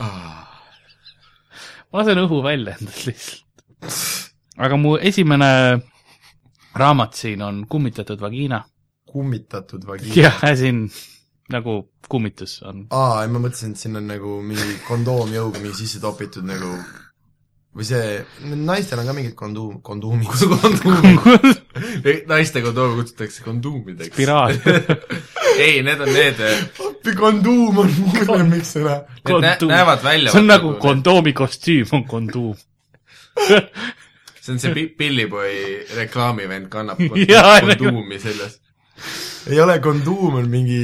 [SPEAKER 2] ma lasen õhu välja endast lihtsalt . aga mu esimene raamat siin on Kummitatud vagiina
[SPEAKER 3] kummitatud vagiin .
[SPEAKER 2] jah , as in nagu kummitus on .
[SPEAKER 3] aa , ei ma mõtlesin , et siin on nagu mingi kondoomjõud mingi sisse topitud nagu või see , naistel on ka mingid kondoom , kondoomid .
[SPEAKER 4] kondoomid , naiste kondoome kutsutakse konduumideks .
[SPEAKER 2] spiraal .
[SPEAKER 4] ei , need on need , eh, need
[SPEAKER 3] appi , kondoom on mulle , miks sõna .
[SPEAKER 4] nä-
[SPEAKER 2] Konduum.
[SPEAKER 4] näevad välja .
[SPEAKER 2] see on nagu . kondoomi kostüüm on konduum .
[SPEAKER 4] see on see pi- Pillipoi reklaamivend kannab
[SPEAKER 2] Jaa,
[SPEAKER 4] kon- konduumi seljas .
[SPEAKER 3] ei ole kondoom , on mingi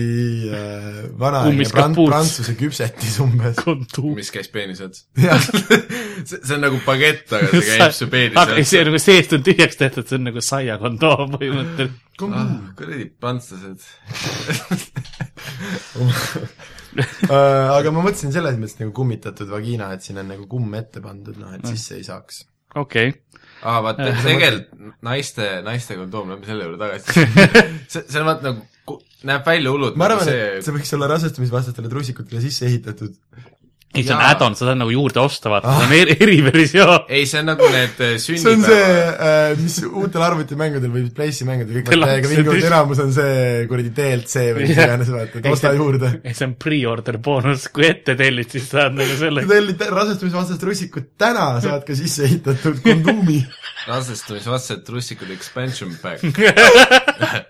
[SPEAKER 3] äh, vana
[SPEAKER 2] Kummis
[SPEAKER 3] prant-
[SPEAKER 2] kapuuts.
[SPEAKER 3] prantsuse küpsetis umbes .
[SPEAKER 2] konduum .
[SPEAKER 4] mis käis peenise otsas .
[SPEAKER 3] jah ,
[SPEAKER 4] see , see on nagu bagett , aga see käib su
[SPEAKER 2] aga ei, see on
[SPEAKER 4] peenise otsas .
[SPEAKER 2] nagu seest on tühjaks tehtud , see on nagu saiakondoom põhimõtteliselt .
[SPEAKER 3] kondoom .
[SPEAKER 4] Ah, kuradi prantslased .
[SPEAKER 3] Äh, aga ma mõtlesin selles mõttes nagu kummitatud vagina , et siin on nagu kumm ette pandud , noh
[SPEAKER 2] Mm.
[SPEAKER 3] et sisse ei saaks .
[SPEAKER 2] okei okay. ,
[SPEAKER 4] aa , Ah, vaata ,
[SPEAKER 2] Jah.
[SPEAKER 4] tegelikult naiste , naiste kondoom , lähme selle juurde tagasi . see , see on vaata nagu , näeb välja hullult . nagu
[SPEAKER 3] ma
[SPEAKER 2] Nagu
[SPEAKER 3] arvan , et see võiks olla rasestumisvastastele truusikutele sisse ehitatud .
[SPEAKER 2] ei see on
[SPEAKER 4] Jaa. Ah.
[SPEAKER 2] add-on , seda on nagu juurde osta , vaata , see on eri , eriversioon .
[SPEAKER 4] ei , see on nagu need eh,
[SPEAKER 3] see on see äh,
[SPEAKER 4] sünnipäeva .,
[SPEAKER 3] mis uutel arvutimängudel või PlayStation mängudel kõik
[SPEAKER 2] Kell
[SPEAKER 3] vaata , ega
[SPEAKER 2] on
[SPEAKER 3] mingi
[SPEAKER 2] see tühi-
[SPEAKER 3] enamus on see kuradi DLC või mis
[SPEAKER 2] Jah.
[SPEAKER 3] iganes , vaata , et
[SPEAKER 2] Ei,
[SPEAKER 3] osta
[SPEAKER 2] see-
[SPEAKER 3] juurde .
[SPEAKER 2] ei , see on pre-order boonus , kui ette tellid , siis saad nagu selle
[SPEAKER 3] kui . tellid rasestumisvastast russikut täna , saad ka sisse ehitatud kondoomi .
[SPEAKER 4] rasestumisvastased trussikud expansion pack .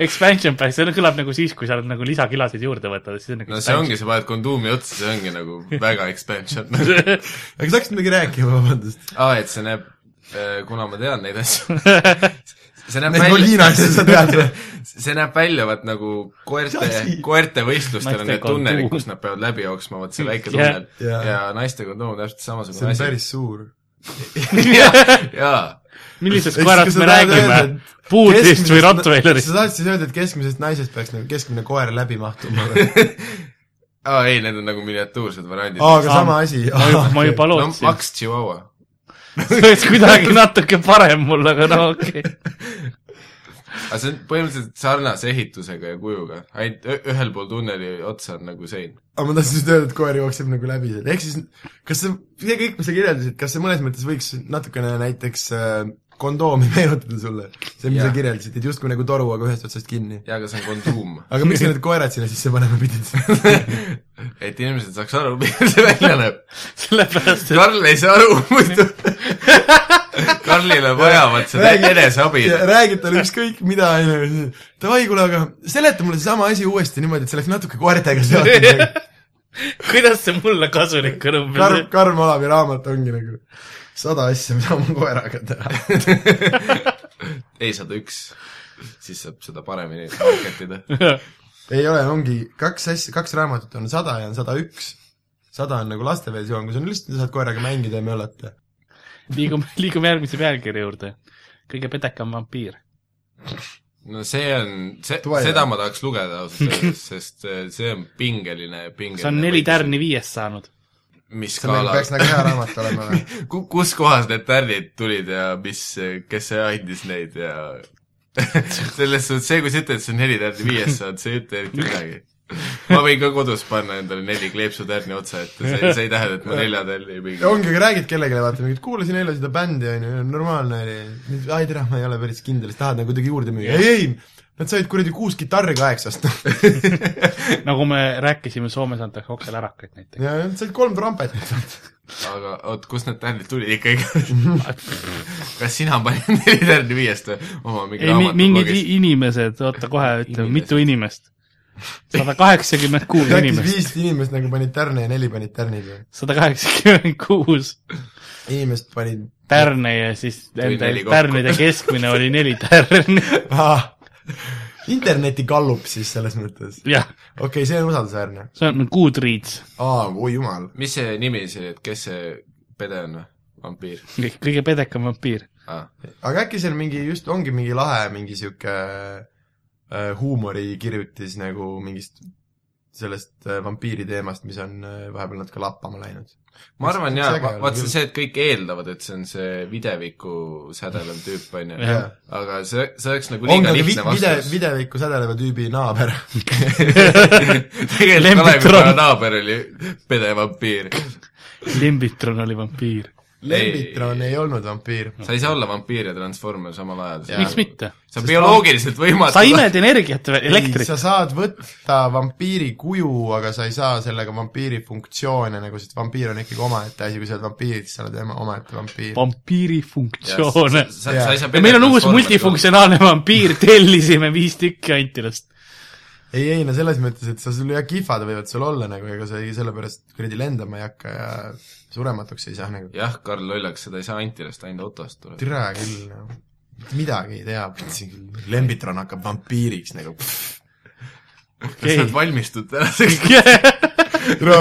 [SPEAKER 2] Expansion pack , see kõlab nagu siis , kui sa oled nagu lisakilasid juurde võtad , siis on nagu
[SPEAKER 4] no see ongi , sa paned kondoomi otsa , see ongi nagu väga expansion .
[SPEAKER 3] aga kas hakkasid midagi rääkima , vabandust ?
[SPEAKER 4] aa , et see näeb , kuna ma tean neid asju ,
[SPEAKER 2] ongi .
[SPEAKER 4] see näeb
[SPEAKER 3] Neid vagina
[SPEAKER 4] välja ,
[SPEAKER 3] asju sa tead või ?
[SPEAKER 4] see näeb välja vaat nagu koerte
[SPEAKER 3] Asi. ,
[SPEAKER 4] koerte võistlustel on
[SPEAKER 2] Naiste
[SPEAKER 4] need tunnelid ,
[SPEAKER 2] kondoom.
[SPEAKER 4] kus nad peavad läbi jooksma , vot see väike
[SPEAKER 2] Jah.
[SPEAKER 4] tunnel
[SPEAKER 3] Jaa.
[SPEAKER 4] ja naiste kondoom on täpselt
[SPEAKER 3] see
[SPEAKER 4] samasugune
[SPEAKER 3] on
[SPEAKER 4] asi .
[SPEAKER 3] päris suur .
[SPEAKER 4] jaa ,
[SPEAKER 2] millisest
[SPEAKER 3] Ehk siis, kas
[SPEAKER 2] koerast
[SPEAKER 3] sa
[SPEAKER 2] me
[SPEAKER 3] tahad
[SPEAKER 2] räägime
[SPEAKER 3] öelda, ?
[SPEAKER 2] puudrist või
[SPEAKER 3] sa
[SPEAKER 2] Rottweilerist ?
[SPEAKER 3] tahad siis öelda , et keskmisest naisest peaks nagu keskmine koer läbi mahtuma ?
[SPEAKER 4] aa ei , need on nagu miniatuursed variandid .
[SPEAKER 3] aa , aga sama asi .
[SPEAKER 2] ma juba , ma juba
[SPEAKER 4] no
[SPEAKER 2] lootsin .
[SPEAKER 4] maks Chihuahua .
[SPEAKER 2] see oleks kuidagi natuke parem mul , aga no okei okay. .
[SPEAKER 4] aga see on põhimõtteliselt sarnase ehitusega ja kujuga , ainult ü- ühel pool tunneli otsa on nagu sein .
[SPEAKER 3] aga ma tahtsin just öelda , et koer jookseb nagu läbi selle , ehk siis kas see , see kõik , mis sa kirjeldasid , kas see mõnes mõttes võiks natukene näiteks äh, kondoomi meenutada sulle ? see , mis sa
[SPEAKER 4] Jah.
[SPEAKER 3] kirjeldasid , et justkui nagu toru , aga ühest otsast kinni .
[SPEAKER 4] jaa , aga see on kondoom .
[SPEAKER 3] aga miks sa need koerad sinna sisse panema pidid ?
[SPEAKER 4] et inimesed saaks aru , milline see välja näeb .
[SPEAKER 2] sellepärast , et
[SPEAKER 4] Karl ei saa aru muidu . Karlile vajavad seda
[SPEAKER 3] Räägi-
[SPEAKER 4] eneseabi .
[SPEAKER 3] räägid talle ükskõik mida , onju . Davai , kuule , aga seleta mulle seesama asi uuesti niimoodi , et see oleks natuke koertega seotud .
[SPEAKER 2] kuidas see mulle kasulik on
[SPEAKER 3] Karm ,
[SPEAKER 2] umbes ?
[SPEAKER 3] Karm Olavi raamat ongi nagu sada asja , mida oma koeraga teha .
[SPEAKER 4] ei , sada üks . siis saab seda paremini marketida .
[SPEAKER 3] ei ole , ongi kaks asja , kaks raamatut on sada ja on sada üks . sada on nagu laste versioon , kus on lihtsalt , sa saad koeraga mängida ja möllata .
[SPEAKER 2] liigume , liigume järgmise pealkirja juurde . kõige pedekam vampiir .
[SPEAKER 4] no see on , see ,
[SPEAKER 3] Tule.
[SPEAKER 4] seda ma tahaks lugeda ausalt öeldes , sest eh, see on pingeline , pingeline .
[SPEAKER 2] see on neli . tärni viiest saanud .
[SPEAKER 4] mis
[SPEAKER 3] see on nagu ,
[SPEAKER 4] skaala
[SPEAKER 3] peaks nagu hea raamat olema või ?
[SPEAKER 4] Ku- , kus kohas need tärnid tulid ja mis , kes see andis neid ja selles suhtes see , kui sa ütled , et see on neli tärni viies saad , see ei ütle eriti midagi . ma võin ka kodus panna endale neli kleepsu tärni otsa ette , see , see ei tähenda , et ma nelja tärni ei mingi .
[SPEAKER 3] ongi , aga räägid kellelegi , vaata mingit , kuulasin eile seda bändi , onju , normaalne oli . ai tere , ma ei ole päris kindel , siis tahad nagu kuidagi juurde müüa . ei , ei , nad said kuradi kuus kitarri kaheksast .
[SPEAKER 2] nagu me rääkisime , Soomes antakse okselärakaid näiteks .
[SPEAKER 3] ja nad said kolm trompetit .
[SPEAKER 4] aga oot , kust need tärnid tulid ikkagi ? kas sina panid neli tärni viiest või ? oma mingi
[SPEAKER 2] ei , mingid
[SPEAKER 4] raamatu
[SPEAKER 2] i- inimesed , oota kohe ütleme ,
[SPEAKER 4] Inimesed.
[SPEAKER 2] mitu inimest ? sada kaheksakümmend kuus
[SPEAKER 3] äkki
[SPEAKER 2] inimest ,
[SPEAKER 3] viis inimest nagu panid tärne ja neli panid tärnid või ?
[SPEAKER 2] sada kaheksakümmend kuus
[SPEAKER 3] inimest panid
[SPEAKER 2] tärne ja siis
[SPEAKER 4] Tuli
[SPEAKER 2] nende
[SPEAKER 4] neli kokku.
[SPEAKER 2] tärnide keskmine oli neli tärni .
[SPEAKER 3] ah, . interneti gallup siis selles mõttes .
[SPEAKER 2] jah ,
[SPEAKER 3] okei okay, , see on usaldusväärne .
[SPEAKER 2] see on Goodreads ,
[SPEAKER 3] aa , oi jumal .
[SPEAKER 4] mis see nimi siis oli , et kes see pede on või ? vampiir
[SPEAKER 2] kõige pedekam vampiir .
[SPEAKER 4] ah. ?
[SPEAKER 3] aga äkki see on mingi , just ongi mingi lahe , mingi sihuke äh, huumorikirjutis nagu mingist sellest äh, vampiiri teemast , mis on äh, vahepeal natuke lappama läinud .
[SPEAKER 4] ma arvan
[SPEAKER 3] Miks-
[SPEAKER 4] jaa
[SPEAKER 3] miks äge ,
[SPEAKER 4] vaat
[SPEAKER 3] ei
[SPEAKER 4] see
[SPEAKER 3] ole
[SPEAKER 4] on see , et kõik eeldavad , et see on see videviku sädelev tüüp , on ju .
[SPEAKER 2] Jah.
[SPEAKER 4] aga see , see oleks nagu
[SPEAKER 3] ongi
[SPEAKER 4] liiga
[SPEAKER 3] aga vi-
[SPEAKER 4] lihtne
[SPEAKER 3] vide ,
[SPEAKER 4] vastus .
[SPEAKER 3] videviku sädeleva tüübi naaber .
[SPEAKER 4] tegelikult
[SPEAKER 2] Lembitron.
[SPEAKER 4] Kalevipoja naaber oli pede vampiir .
[SPEAKER 2] Limbitron oli vampiir .
[SPEAKER 3] Lembitron ei olnud vampiir .
[SPEAKER 4] sa ei saa olla vampiir ja transformer samal ajal .
[SPEAKER 2] miks mitte ?
[SPEAKER 4] see on bioloogiliselt võimatu .
[SPEAKER 2] sa imed energiat , elektrit
[SPEAKER 3] sa . saad võtta vampiiri kuju , aga sa ei saa sellega vampiiri funktsioone nagu , sest vampiir on ikkagi omaette asi , kui sa oled vampiir , siis sa oled ema- omaette vampiir .
[SPEAKER 2] vampiiri funktsioone .
[SPEAKER 3] Jaa.
[SPEAKER 4] ja
[SPEAKER 2] meil on uus . multifunktsionaalne vampiir , tellisime viis tükki Antilast .
[SPEAKER 3] ei , ei no selles mõttes , et sa , sul jah , kihvad võivad sul olla nagu , ega sa ei , sellepärast kuradi lendama ei hakka ja surematuks ei saa nagu .
[SPEAKER 4] jah , Karl Lollaks , seda ei saa Antilast , ainult Otost tuleb .
[SPEAKER 3] türa küll , noh . midagi ei tea , Lembitron hakkab vampiiriks nagu .
[SPEAKER 4] kas sa oled valmistunud tänaseks ?
[SPEAKER 3] türa ,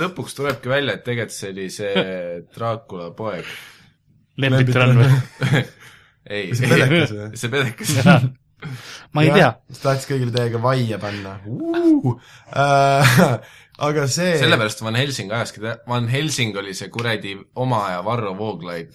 [SPEAKER 4] lõpuks tulebki välja , et tegelikult see oli see Dracula poeg .
[SPEAKER 2] lembitran või ?
[SPEAKER 4] ei ,
[SPEAKER 3] see pelekas või ?
[SPEAKER 4] see pedekas .
[SPEAKER 2] ma ei tea ..
[SPEAKER 3] siis tahaks kõigile täiega vaia panna uh, . Äh, aga see
[SPEAKER 4] sellepärast Van Helsing ajaski , Van Helsing oli see kuradi oma aja Varro Vooglaid .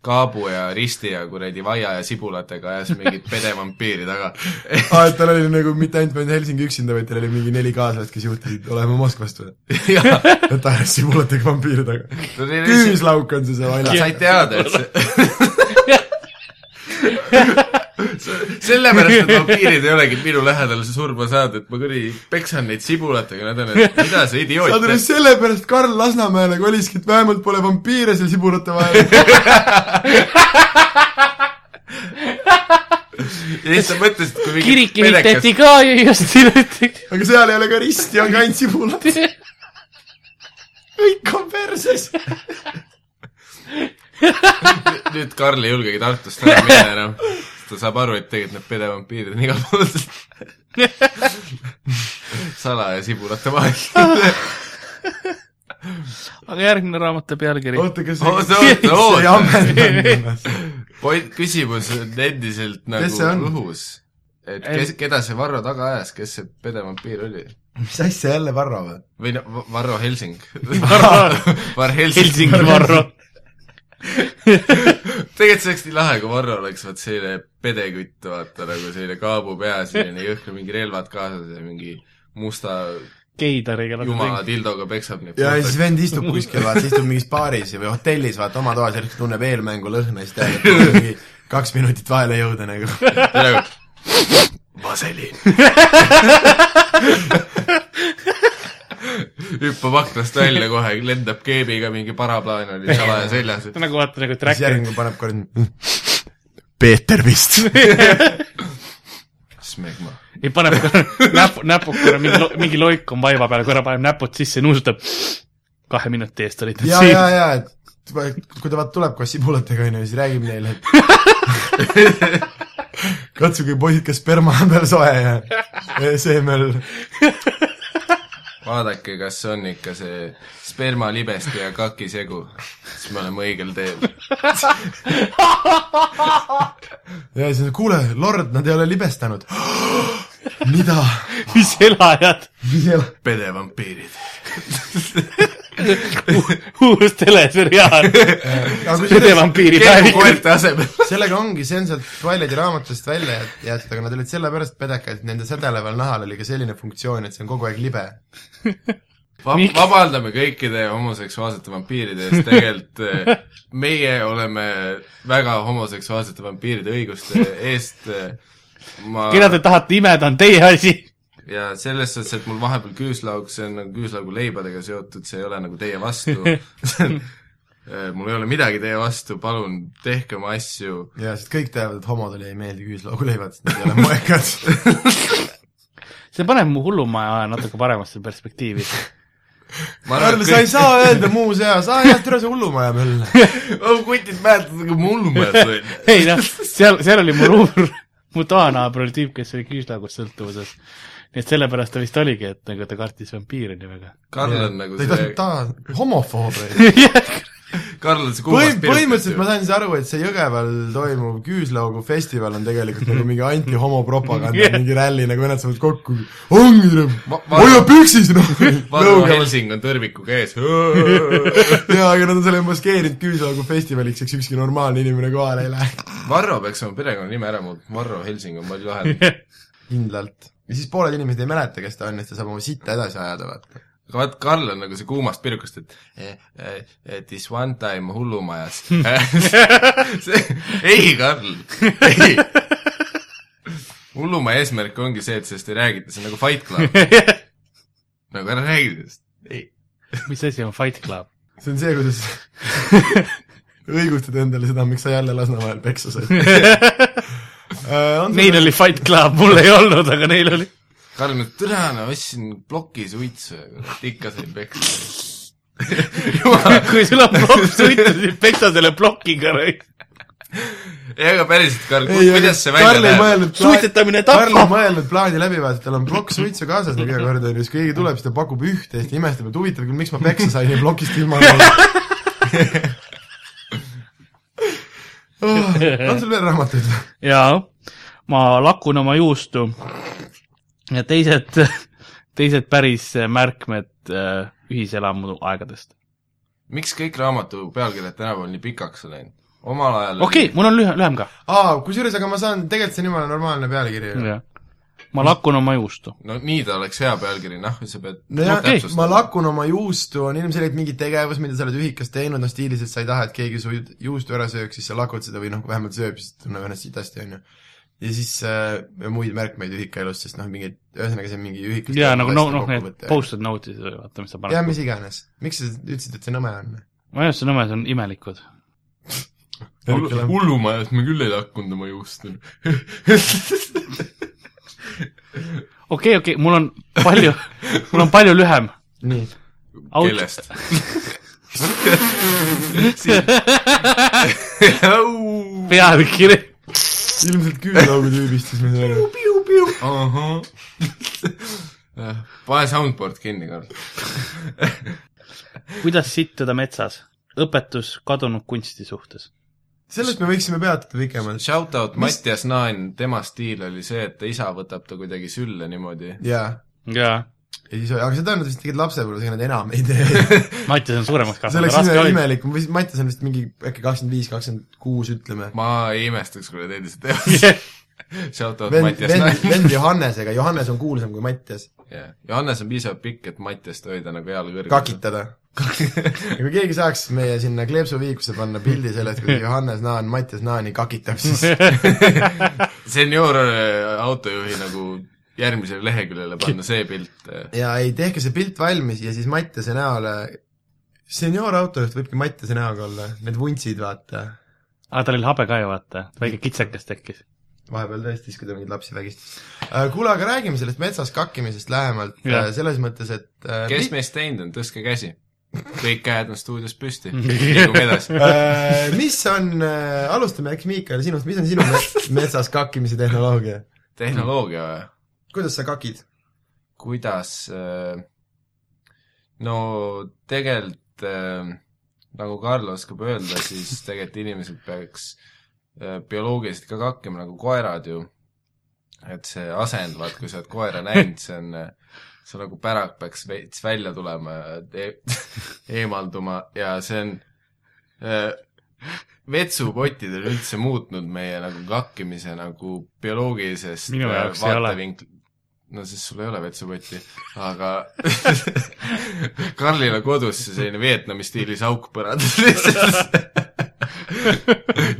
[SPEAKER 4] kaabu ja risti ja kuradi vaia ja sibulatega ajas mingit pedevampiiri taga .
[SPEAKER 3] aa , et tal oli nagu mitte ainult Van Helsing üksinda , vaid tal oli mingi neli kaaslast , kes juhtisid olema Moskvast või ? et ajas sibulatega vampiiri taga . küüslauk on see see
[SPEAKER 4] Sa
[SPEAKER 3] välja .
[SPEAKER 4] said teada , et see sellepärast need vampiirid ei olegi minu lähedal surma saanud , et ma kuradi peksan neid sibulatega , nad on , et mida sa idioot
[SPEAKER 3] saad aru ,
[SPEAKER 4] teed .
[SPEAKER 3] sellepärast Karl Lasnamäele koliski , et vähemalt pole vampiire seal sibulate vahel .
[SPEAKER 4] ja siis sa mõtlesid , kui mingi
[SPEAKER 2] kirik
[SPEAKER 4] pedekas
[SPEAKER 2] ehitati ka ju just hiljuti .
[SPEAKER 3] aga seal ei ole ka risti , on ka ainult sibulad . kõik on perses .
[SPEAKER 4] nüüd Karl ei julgegi Tartust ära minna enam . ta saab aru , et tegelikult need pedevampiirid on igal pool salaja sibulate vahel .
[SPEAKER 2] aga järgmine raamatu pealkiri .
[SPEAKER 3] oota , kas
[SPEAKER 4] Oota, oota, oota.
[SPEAKER 3] ei ammendanud ennast ?
[SPEAKER 4] point , küsimus on endiselt
[SPEAKER 3] Kes see on?
[SPEAKER 4] nagu õhus . et kes , keda see Varro taga ajas , kes see pedevampiir oli ?
[SPEAKER 3] mis asja jälle Varro või ?
[SPEAKER 4] või noh , Varro Helsing . Var Helsing .
[SPEAKER 2] Helsingi Varro .
[SPEAKER 4] tegelikult see oleks nii lahe , kui Varro oleks vaat selline pedekütt , vaata nagu selline kaabu peas , selline jõhker , mingi relvad kaasas ja mingi musta
[SPEAKER 2] Keidariga .
[SPEAKER 3] Nagu
[SPEAKER 2] nagu
[SPEAKER 4] jumala tildoga peksab neid .
[SPEAKER 3] ja siis vend istub kuskil , vaata , istub mingis baaris või hotellis , vaata , oma toas , järsku tunneb eelmängu lõhna , siis teab , et tuleb mingi kaks minutit vahele jõuda nagu .
[SPEAKER 4] praegu . vaseliin . hüppab aknast välja kohe , lendab keebiga , mingi paraplaan oli salaja seljas .
[SPEAKER 2] nagu vaata nagu
[SPEAKER 3] siis
[SPEAKER 2] tracker .
[SPEAKER 3] järgmine paneb kord Peeter vist .
[SPEAKER 4] smegma .
[SPEAKER 2] ja paneb korra näpu , näpukene , mingi , mingi loik on vaiba peal , korra paneb näpud sisse , nuusutab . kahe minuti eest olid nad
[SPEAKER 3] ja , ja ,
[SPEAKER 2] siin .
[SPEAKER 3] ja , et kui ta vaata tuleb koos sibulatega , onju , siis räägib neile , et katsuge poisid , kas sperma on veel soe ja E seemel .
[SPEAKER 4] vaadake , kas on ikka see sperma libeste ja kaki segu . siis me oleme õigel teel .
[SPEAKER 3] ja siis , kuule , lord , nad ei ole libestanud . mida ?
[SPEAKER 2] mis elajad ,
[SPEAKER 4] pedevampiirid .
[SPEAKER 2] uus teleseriaal . pedevampiiri päevikud .
[SPEAKER 4] keemukoerte asemel .
[SPEAKER 3] Äh, sellega ongi , see on sealt Twilighti raamatust välja jät- jäetud , aga nad olid sellepärast pedekad , et nende sädele peal nahal oli ka selline funktsioon , et see on kogu aeg libe .
[SPEAKER 2] Miks?
[SPEAKER 4] vabandame kõikide homoseksuaalsete vampiiride eest , tegelikult eh, meie oleme väga homoseksuaalsete vampiiride õiguste eest eh, ma
[SPEAKER 2] keda te tahate imeda , on teie asi .
[SPEAKER 4] ja selles suhtes , et mul vahepeal küüslauk , see on nagu küüslaugu leibadega seotud , see ei ole nagu teie vastu Äh, mul ei ole midagi teie vastu , palun tehke oma asju
[SPEAKER 3] ja siis kõik teavad , et homodele ei meeldi küüslauguleivad , sest nad ei ole moekad .
[SPEAKER 2] see paneb mu hullumaja aja natuke paremasse perspektiivi .
[SPEAKER 4] ma
[SPEAKER 3] Karl ,
[SPEAKER 4] arvan , et
[SPEAKER 3] sa ei
[SPEAKER 4] kõik
[SPEAKER 3] saa öelda muus eas , aa jah , türa see hullumaja möll .
[SPEAKER 4] oh, kutid mäletavad , kui ma hullumees olin .
[SPEAKER 2] ei noh , seal , seal oli mu ruum , mu toanaaber oli tüüp , kes oli küüslaugust sõltuvuses . nii et sellepärast ta vist oligi , et nagu ta kartis vampiire nii väga .
[SPEAKER 4] Karl on nagu
[SPEAKER 3] ta ei
[SPEAKER 4] see
[SPEAKER 3] tahtnud , ta , homofoob oli .
[SPEAKER 4] Karl on see kuumas
[SPEAKER 3] põhim- , põhimõtteliselt ma sain siis aru , et see Jõgeval toimuv küüslaugufestival on tegelikult nagu mingi anti-homopropaganda yeah. , mingi ralli , nagu vennad saavad kokku , ongi , noh,
[SPEAKER 4] Ma- ma-
[SPEAKER 3] hoia püksis , noh .
[SPEAKER 4] Varro Helsing on tõrvikuga ees .
[SPEAKER 3] jaa , aga nad on selle maskeerinud küüslaugu festivaliks , eks ükski normaalne inimene kohale ei lähe .
[SPEAKER 4] Varro peaks oma perekonnanime ära muutma , Varro Helsing on palju lahedam .
[SPEAKER 3] kindlalt . ja siis pooled inimesed ei mäleta , kes ta on , et ta saab oma sitta edasi ajada , vaata .
[SPEAKER 4] aga vaat Karl on nagu see kuumast pirukast , et eh, eh, eh, this one time hullumajas See- ei , Karl , ei . hullumaja eesmärk ongi see , et sellest ei räägita , see on nagu Fight Club , nagu ära räägi sellest . ei ,
[SPEAKER 2] mis asi on Fight Club ?
[SPEAKER 3] see on see , kuidas õigustad endale seda , miks sa jälle Lasnamäel peksa said . Äh,
[SPEAKER 2] Neil oli Fight Club , mul ei olnud , aga neil oli .
[SPEAKER 4] Karl mõtleb , türa , no ostsin plokis uitsu ja kurat, ikka sain peksa . jumal ,
[SPEAKER 2] kui sul on plokk suitsu , siis peksa selle plokiga .
[SPEAKER 4] ei aga päriselt , Karl ,
[SPEAKER 3] ei , aga
[SPEAKER 4] kuidas see välja
[SPEAKER 3] Karl ei
[SPEAKER 4] läheb ?
[SPEAKER 3] mõelnud
[SPEAKER 2] Suitsetamine tapab.
[SPEAKER 3] Karl ei mõelnud plaani läbi , vaata , tal on plokk suitsu kaasas nagu iga kord on ju , siis kui keegi tuleb , siis ta pakub ühte ja siis ta imestab , et huvitav küll , miks ma peksa sain ja plokist ilma jäin . Oh, on sul veel raamatuid või ?
[SPEAKER 2] jaa , ma lakun oma juustu ja teised , teised päris märkmed äh, ühiselamu aegadest .
[SPEAKER 4] miks kõik raamatu pealkirjad tänapäeval nii pikaks on läinud ? omal ajal
[SPEAKER 2] okei okay, , mul on lühem , lühem ka .
[SPEAKER 3] aa , kusjuures , aga ma saan , tegelikult see on jumala normaalne pealkiri ju .
[SPEAKER 2] ma lakun oma juustu .
[SPEAKER 4] no nii ta oleks hea pealkiri , noh , sa pead
[SPEAKER 3] nojah
[SPEAKER 2] Okei.
[SPEAKER 3] okay. , ma lakun oma juustu , on ilmselgelt mingi tegevus , mida sa oled ühikas teinud , noh stiilis , et sa ei taha , et keegi su ju- juustu ära sööks , siis sa lakud seda või noh , vähemalt sööb , siis tunneb ennast sitasti , on ju . ja siis äh, muid märkmeid ühikaelust , sest noh , mingi , ühesõnaga see on mingi ühikas
[SPEAKER 2] jaa , nagu no , noh , need . post-it notes'id , vaata , mis sa
[SPEAKER 3] jah ,
[SPEAKER 2] paned .
[SPEAKER 3] mis iganes . miks sa ütlesid , et see nõme on ?
[SPEAKER 2] ma ei oska sõna , need on imelikud .
[SPEAKER 4] Hullu-
[SPEAKER 3] Hullu-
[SPEAKER 4] hullumajas me küll ei lakkunud oma juustu .
[SPEAKER 2] okei , okei , mul on palju , mul on palju lühem .
[SPEAKER 3] nii .
[SPEAKER 4] kellest ? ahah ,
[SPEAKER 2] pealkiri .
[SPEAKER 3] ilmselt küünlaugu tüübist siis me saame .
[SPEAKER 4] pane soundboard kinni , Karl .
[SPEAKER 2] kuidas sittuda metsas ? õpetus kadunud kunsti suhtes .
[SPEAKER 3] sellest me võiksime peatuda pikemalt .
[SPEAKER 4] Shout out Mattias Naan , tema stiil oli see , et ta isa võtab ta kuidagi sülle niimoodi .
[SPEAKER 3] jaa .
[SPEAKER 2] jaa .
[SPEAKER 3] ja siis , aga seda nad vist tegid lapsepõlves , ega nad enam ei tee
[SPEAKER 2] Mattias on suuremaks
[SPEAKER 3] see
[SPEAKER 2] kasvanud ,
[SPEAKER 3] oleks
[SPEAKER 2] raske
[SPEAKER 3] ime
[SPEAKER 2] oli .
[SPEAKER 3] imelik , ma vist , Mattias on vist mingi äkki kakskümmend viis , kakskümmend kuus , ütleme .
[SPEAKER 4] ma ei imestaks , kui nad endiselt teevad . Shout out
[SPEAKER 3] vend ,
[SPEAKER 4] Mattias
[SPEAKER 3] vend ,
[SPEAKER 4] Naan .
[SPEAKER 3] vend Johannesega , Johannes on kuulsam kui Mattias ,
[SPEAKER 4] Johannes on piisavalt pikk , et Mattiast hoida nagu heal kõrgel .
[SPEAKER 3] kakitada . ja kui keegi saaks meie sinna kleepsuviikusse panna pildi sellest , kuidas Johannes Naan Mattias Naani kakitab , siis
[SPEAKER 4] senior äh, autojuhi nagu järgmisele leheküljele panna see pilt . äh.
[SPEAKER 3] ja ei , tehke see pilt valmis ja siis Mattiase näole , senioorautojuht võibki Mattiase näoga olla , need vuntsid , vaata .
[SPEAKER 2] aga tal oli habe ka ju , vaata , väike kitsekas tekkis .
[SPEAKER 3] vahepeal tõesti , siis kui ta mingeid lapsi vägistas . kuule , aga räägime sellest metsas kakkimisest lähemalt ,
[SPEAKER 2] Jah.
[SPEAKER 3] selles mõttes , et äh,
[SPEAKER 4] kes meist teinud on , tõstke käsi . kõik käed on stuudios püsti , liigume edasi .
[SPEAKER 3] Äh, mis on , alustame äkki Miikal sinust , mis on sinu me- metsas kakkimise tehnoloogia ?
[SPEAKER 4] tehnoloogia või ?
[SPEAKER 3] kuidas sa kakid ?
[SPEAKER 4] kuidas äh, no tegelikult äh, nagu Karl oskab öelda , siis tegelikult inimesed peaks äh, bioloogiliselt ka kakkima nagu koerad ju . et see asend , vaat kui sa oled koera näinud , see on , see nagu pärak peaks veits välja tulema ja e eemalduma ja see on äh, vetsupotid on üldse muutnud meie nagu kakkimise nagu bioloogilisest
[SPEAKER 2] Minu
[SPEAKER 4] äh,
[SPEAKER 2] jaoks ei ole.
[SPEAKER 4] vaatevinkli- no siis sul ei ole vetsupotti , aga Karlil on kodus selline Vietnami stiilis auk põrandas lihtsalt .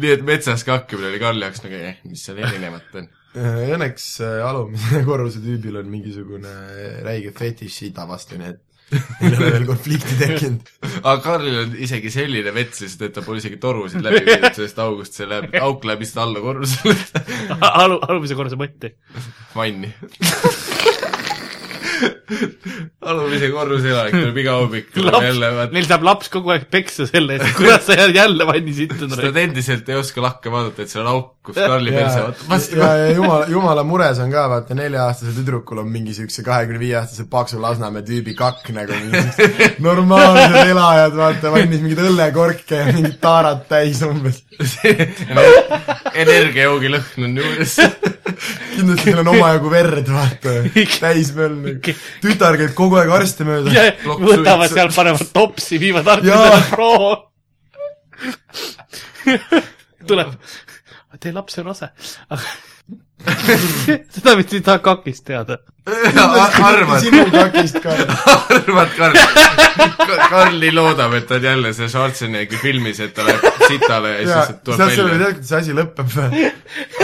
[SPEAKER 4] nii et metsas kakkimine oli Karli jaoks nagu , eh , mis seal erinevat on .
[SPEAKER 3] Õnneks äh, alumise korruse tüübil on mingisugune äh, räige fetiš sita vastu , nii et ei ole veel konflikti tekkinud .
[SPEAKER 4] aga Karlil on isegi selline vets lihtsalt , et ta pole isegi torusid läbi viinud sellest august , see läheb , auk läheb lihtsalt alla korrusele
[SPEAKER 2] Alu , alumise korruse mõtti .
[SPEAKER 4] vanni . alumise korruse elanik tuleb iga hommik , tuleb jälle , vaata
[SPEAKER 2] Neil saab laps kogu aeg peksa selle eest , kuidas sa jääd jälle vanni
[SPEAKER 4] sest nad
[SPEAKER 2] sittunud .
[SPEAKER 4] endiselt ei oska lakke vaadata , et seal on auk , kus Karli
[SPEAKER 3] ja
[SPEAKER 4] perse vaatab vastu
[SPEAKER 3] ja , ja jumala , jumala mures on ka , vaata nelja-aastasel tüdrukul on mingi siukse kahekümne viie aastase paksu Lasnamäe tüübi kakk nagu , normaalsed elajad , vaata , valmis mingeid õllekorke ja mingid taarad täis umbes .
[SPEAKER 4] energiajoogi lõhn on juures .
[SPEAKER 3] kindlasti neil on omajagu verd , vaata , täismöll nagu . tütar käib kogu aeg arste mööda .
[SPEAKER 2] võtavad seal , panevad topsi , viivad
[SPEAKER 3] Jaa.
[SPEAKER 2] arstidele proo . tuleb teie laps on rase . seda vist ei taha kakist teada .
[SPEAKER 4] arvad ,
[SPEAKER 3] sinu kakist ka .
[SPEAKER 4] arvad , Karl Ka- Karl nii loodab , et ta on jälle see Schwarzeneggi filmis , et ta läheb sitale ja
[SPEAKER 3] jaa ,
[SPEAKER 4] siis
[SPEAKER 3] saad
[SPEAKER 4] tuleb
[SPEAKER 3] selle ,
[SPEAKER 4] välja .
[SPEAKER 3] tead , kuidas see asi lõpeb või ?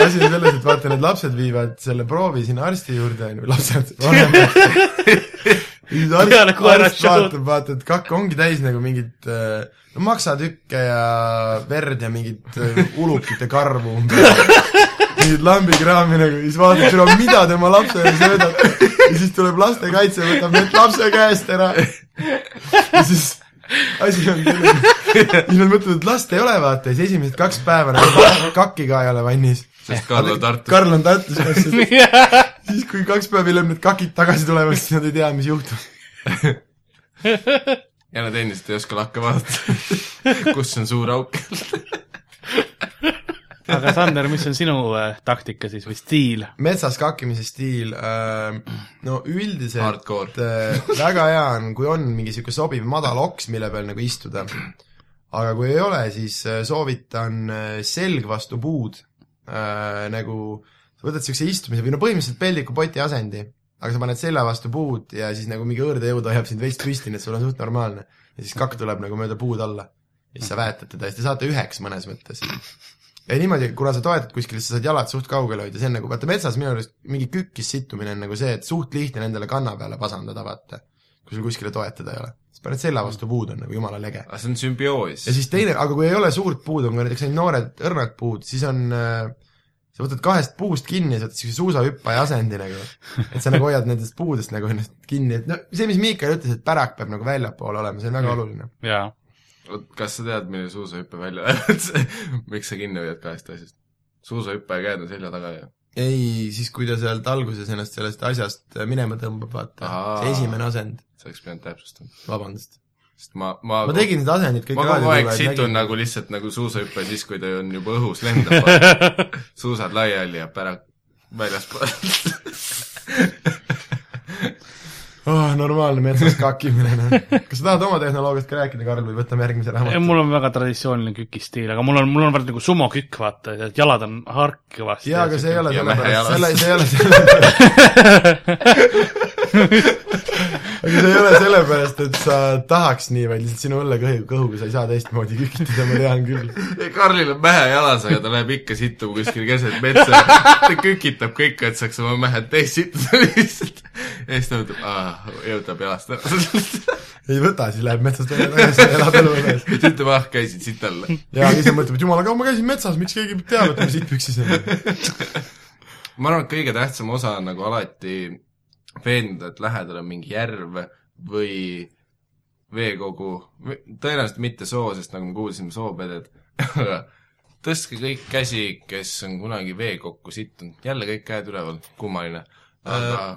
[SPEAKER 3] asi on selles , et vaata , need lapsed viivad selle proovi sinna arsti juurde , on ju , lapsed , vanemad . siis
[SPEAKER 2] Peale
[SPEAKER 3] arst ,
[SPEAKER 2] koera
[SPEAKER 3] arst
[SPEAKER 2] show'd.
[SPEAKER 3] vaatab , vaata , et kakk ongi täis nagu mingit äh, no maksatükke ja verd ja mingit äh, ulukite karvu umbes . mingit lambikraami nagu , siis vaatab , türa , mida tema lapsele söödab . ja siis tuleb lastekaitse , võtab need lapse käest ära . ja siis asi on selline siis nad mõtlevad , et last ei ole , vaata , siis esimesed kaks päeva nagu kakki ka ei ole vannis .
[SPEAKER 4] sest Karl on Tartus .
[SPEAKER 3] Karl on Tartus , siis kui kaks päeva hiljem need kakid tagasi tulevad , siis nad ei tea , mis juhtub .
[SPEAKER 4] ja nad endiselt ei oska lakke vaadata , kus on suur auk .
[SPEAKER 2] aga Sander , mis on sinu äh, taktika siis või stiil ?
[SPEAKER 3] metsas kakkimise stiil äh, , no üldiselt
[SPEAKER 4] Hardcore.
[SPEAKER 3] äh, väga hea on , kui on mingi niisugune sobiv madal oks , mille peal nagu istuda . aga kui ei ole , siis äh, soovitan äh, selg vastu puud äh, , nagu sa võtad niisuguse istumise või no põhimõtteliselt peldikupoti asendi , aga sa paned selja vastu puud ja siis nagu mingi õõrdejõud hoiab sind veits püsti , nii et sul on suht normaalne . ja siis kakk tuleb nagu mööda puud alla . ja siis sa väetad teda ja siis te saate üheks mõnes mõttes ja niimoodi , kuna sa toetad kuskile , siis sa saad jalad suht kaugel hoida , see on nagu , vaata metsas minu arust mingi kükkis sittumine on nagu see , et suht lihtne on endale kanna peale pasandada , vaata . kui sul kuskile toetada ei ole . siis paned selja vastu puud , on nagu jumala lege .
[SPEAKER 4] aga Ah, see on sümbioos
[SPEAKER 3] ja . siis teine , aga kui ei ole suurt puud , on ka näiteks ainult noored õrnad puud , siis on äh, sa võtad kahest puust kinni ja sa oled siukse suusahüppaja asendi nagu . et sa nagu hoiad nendest puudest nagu ennast kinni , et no see , mis Miikael ütles , et pärak peab nagu väljapoole olema , see on väga oluline .
[SPEAKER 2] jaa .
[SPEAKER 4] oot , kas sa tead , milline suusahüppe välja läheb ? miks sa kinni hoiad kahest asjast ? suusahüppaja käed on selja taga ja
[SPEAKER 3] ei , siis kui ta sealt alguses ennast sellest asjast minema tõmbab , vaata ,
[SPEAKER 4] Ahaa.
[SPEAKER 3] see esimene asend ,
[SPEAKER 4] sa oleks pidanud täpsustama .
[SPEAKER 3] vabandust
[SPEAKER 4] sest ma , ma
[SPEAKER 3] ma tegin need asendid kõik
[SPEAKER 4] ma kogu aeg
[SPEAKER 3] raadiotulevad,
[SPEAKER 4] situn
[SPEAKER 3] nägin.
[SPEAKER 4] nagu lihtsalt nagu suusahüppe siis , kui ta on juba õhus , lendab . suusad laiali ja pära väljaspool .
[SPEAKER 3] oh, . normaalne metsas kakimine , noh . kas sa tahad oma tehnoloogiast ka rääkida , Karl , või võtame järgmise raamatu ?
[SPEAKER 2] mul on väga traditsiooniline kükistiil , aga mul on , mul on vaata nagu sumokükk , vaata , et jalad on harkivasti .
[SPEAKER 3] jaa , aga see ei ole
[SPEAKER 4] Ja mehe
[SPEAKER 3] sellepärast , selle ,
[SPEAKER 4] jalas.
[SPEAKER 3] see ei ole selle aga see ei ole sellepärast , et sa tahaks nii , vaid lihtsalt sinu õllekõhu , kõhuga sa ei saa teistmoodi kükitada , ma tean küll .
[SPEAKER 4] Karlil on mähe jalas , aga ta läheb ikka sittuma kuskil keset metsa . ta kükitab kõike , et saaks oma mähed täis sittuda lihtsalt . ja siis ta mõtleb , aa , jõutab jalast ära .
[SPEAKER 3] ei võta , siis läheb metsast välja tagasi ja elab elu edasi .
[SPEAKER 4] siis ütleb , ah , käisid siit alla .
[SPEAKER 3] jaa , aga ise mõtleb , et jumala kaua ma käisin metsas , miks keegi teab , et ma siit püksis olen .
[SPEAKER 4] ma arvan , et kõige tähtsam osa on nagu alati veenduda , et lähedal on mingi järv või veekogu , tõenäoliselt mitte soo , sest nagu me kuulsime , soopeded , aga tõstke kõik käsi , kes on kunagi veekokku sittunud , jälle kõik käed üleval , kummaline . aga
[SPEAKER 2] Äh.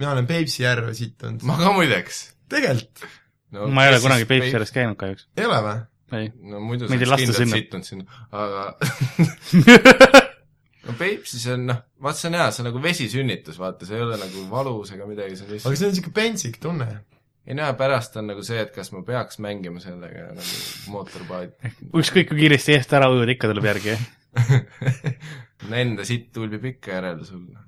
[SPEAKER 3] mina olen Peipsi järve siit olnud .
[SPEAKER 4] ma ka muideks
[SPEAKER 3] tegelikult ,
[SPEAKER 4] no,
[SPEAKER 2] ma ei ole kunagi Peipsi ääres käinud kahjuks .
[SPEAKER 3] ei ole või ?
[SPEAKER 2] ei .
[SPEAKER 4] no muidu sa
[SPEAKER 2] Mind ei
[SPEAKER 4] oleks
[SPEAKER 2] lasta sinna.
[SPEAKER 4] kindlalt sittunud sinna , aga no Peipsis on noh , vaat see on hea , see on nagu vesisünnitus , vaata , see ei ole nagu valus ega midagi , see on lihtsalt
[SPEAKER 3] aga see on niisugune pentsik tunne
[SPEAKER 4] ei no ja pärast on nagu see , et kas ma peaks mängima sellega nagu mootorpaadi .
[SPEAKER 2] ükskõik kui kiiresti eest ära ujud , ikka tuleb järgi , jah .
[SPEAKER 4] Nende sitt tulbib ikka järele sulle .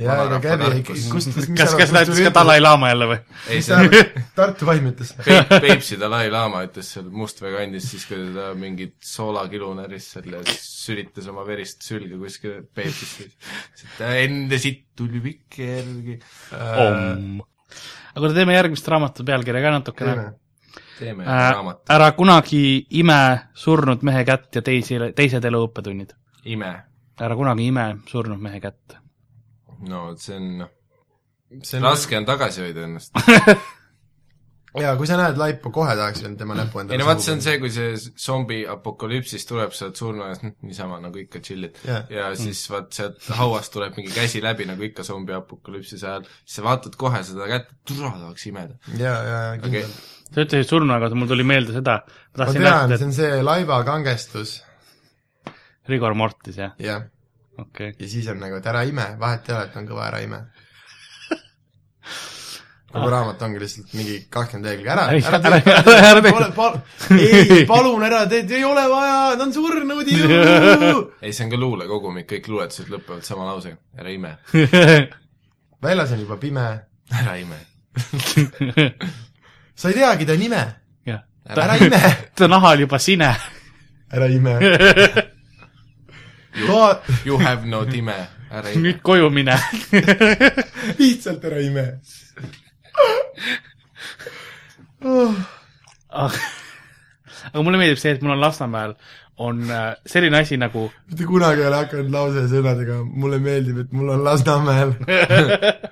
[SPEAKER 3] jaa , aga käbi ,
[SPEAKER 4] Vanarahva tarkus.
[SPEAKER 3] kust ,
[SPEAKER 2] kas , kas näitas ka Dalai-laama jälle või ?
[SPEAKER 4] ei ,
[SPEAKER 3] mis sa
[SPEAKER 4] see on
[SPEAKER 3] arvad , Tartu vaim ütles ?
[SPEAKER 4] Peip- , Peipsi Dalai-laama ütles seal Mustvee kandis siis , kui ta mingit soolakilu näris seal ja siis sülitas oma verist sülge kuskile Peipsisse . Nende sitt tulbib ikka järgi .
[SPEAKER 3] Äh,
[SPEAKER 2] aga kuule , teeme järgmist raamatu pealkirja ka natukene .
[SPEAKER 4] teeme
[SPEAKER 2] Äh,
[SPEAKER 4] raamat ,
[SPEAKER 2] ära kunagi ime surnud mehe kätt ja teisi , teised elu õppetunnid .
[SPEAKER 4] ime .
[SPEAKER 2] ära kunagi ime surnud mehe kätt .
[SPEAKER 4] no see on ,
[SPEAKER 3] see on ,
[SPEAKER 4] raske on tagasi hoida ennast .
[SPEAKER 3] jaa , kui sa näed laipa , kohe tahaks veel tema näpu endale
[SPEAKER 4] ei no vaat see on see , kui see zombi apokalüpsis tuleb , sa oled surnuaias , niisama nagu ikka chill'id
[SPEAKER 3] Jah.
[SPEAKER 4] ja siis vaat sealt hauast tuleb mingi käsi läbi , nagu ikka zombi apokalüpsise ajal , siis sa vaatad kohe seda kätt , türa tahaks imeda .
[SPEAKER 3] jaa , jaa , kindlalt .
[SPEAKER 4] okei ,
[SPEAKER 2] sa ütlesid surnu , aga mul tuli meelde seda , ma
[SPEAKER 3] ma
[SPEAKER 2] tahtsin
[SPEAKER 3] tean , see
[SPEAKER 2] rääkida ,
[SPEAKER 3] on see laiba kangestus ,
[SPEAKER 2] et Rigor Mortis , jah ,
[SPEAKER 3] jah ,
[SPEAKER 2] okei okay. .
[SPEAKER 3] ja siis on nagu , et ära ime , vahet ei ole , et on kõva ära ime . kogu ah. raamat ongi lihtsalt mingi kakskümmend lehekülge , ära ,
[SPEAKER 2] Ei,
[SPEAKER 3] ära
[SPEAKER 2] ära- ära- ära tee.
[SPEAKER 3] pal- , pal- , ei , palun ära tee , ei ole vaja , ta on surnud ju .
[SPEAKER 4] ei , see on ka luulekogumik , kõik luuletused lõpevad sama lausega . ära ime ,
[SPEAKER 3] väljas on juba pime ,
[SPEAKER 4] ära ime ,
[SPEAKER 3] sa ei teagi ta nime ,
[SPEAKER 2] jah .
[SPEAKER 3] ära ime ,
[SPEAKER 2] ta naha oli juba sine .
[SPEAKER 3] ära ime . toa ,
[SPEAKER 4] you have no time , ära ime
[SPEAKER 2] nüüd . koju mine .
[SPEAKER 3] lihtsalt ära ime .
[SPEAKER 2] Ah. aga mulle meeldib see , et mul on Lasnamäel on äh, selline asi nagu
[SPEAKER 3] mitte kunagi ei ole hakanud lause sõnadega mulle meeldib , et mul on Lasnamäel .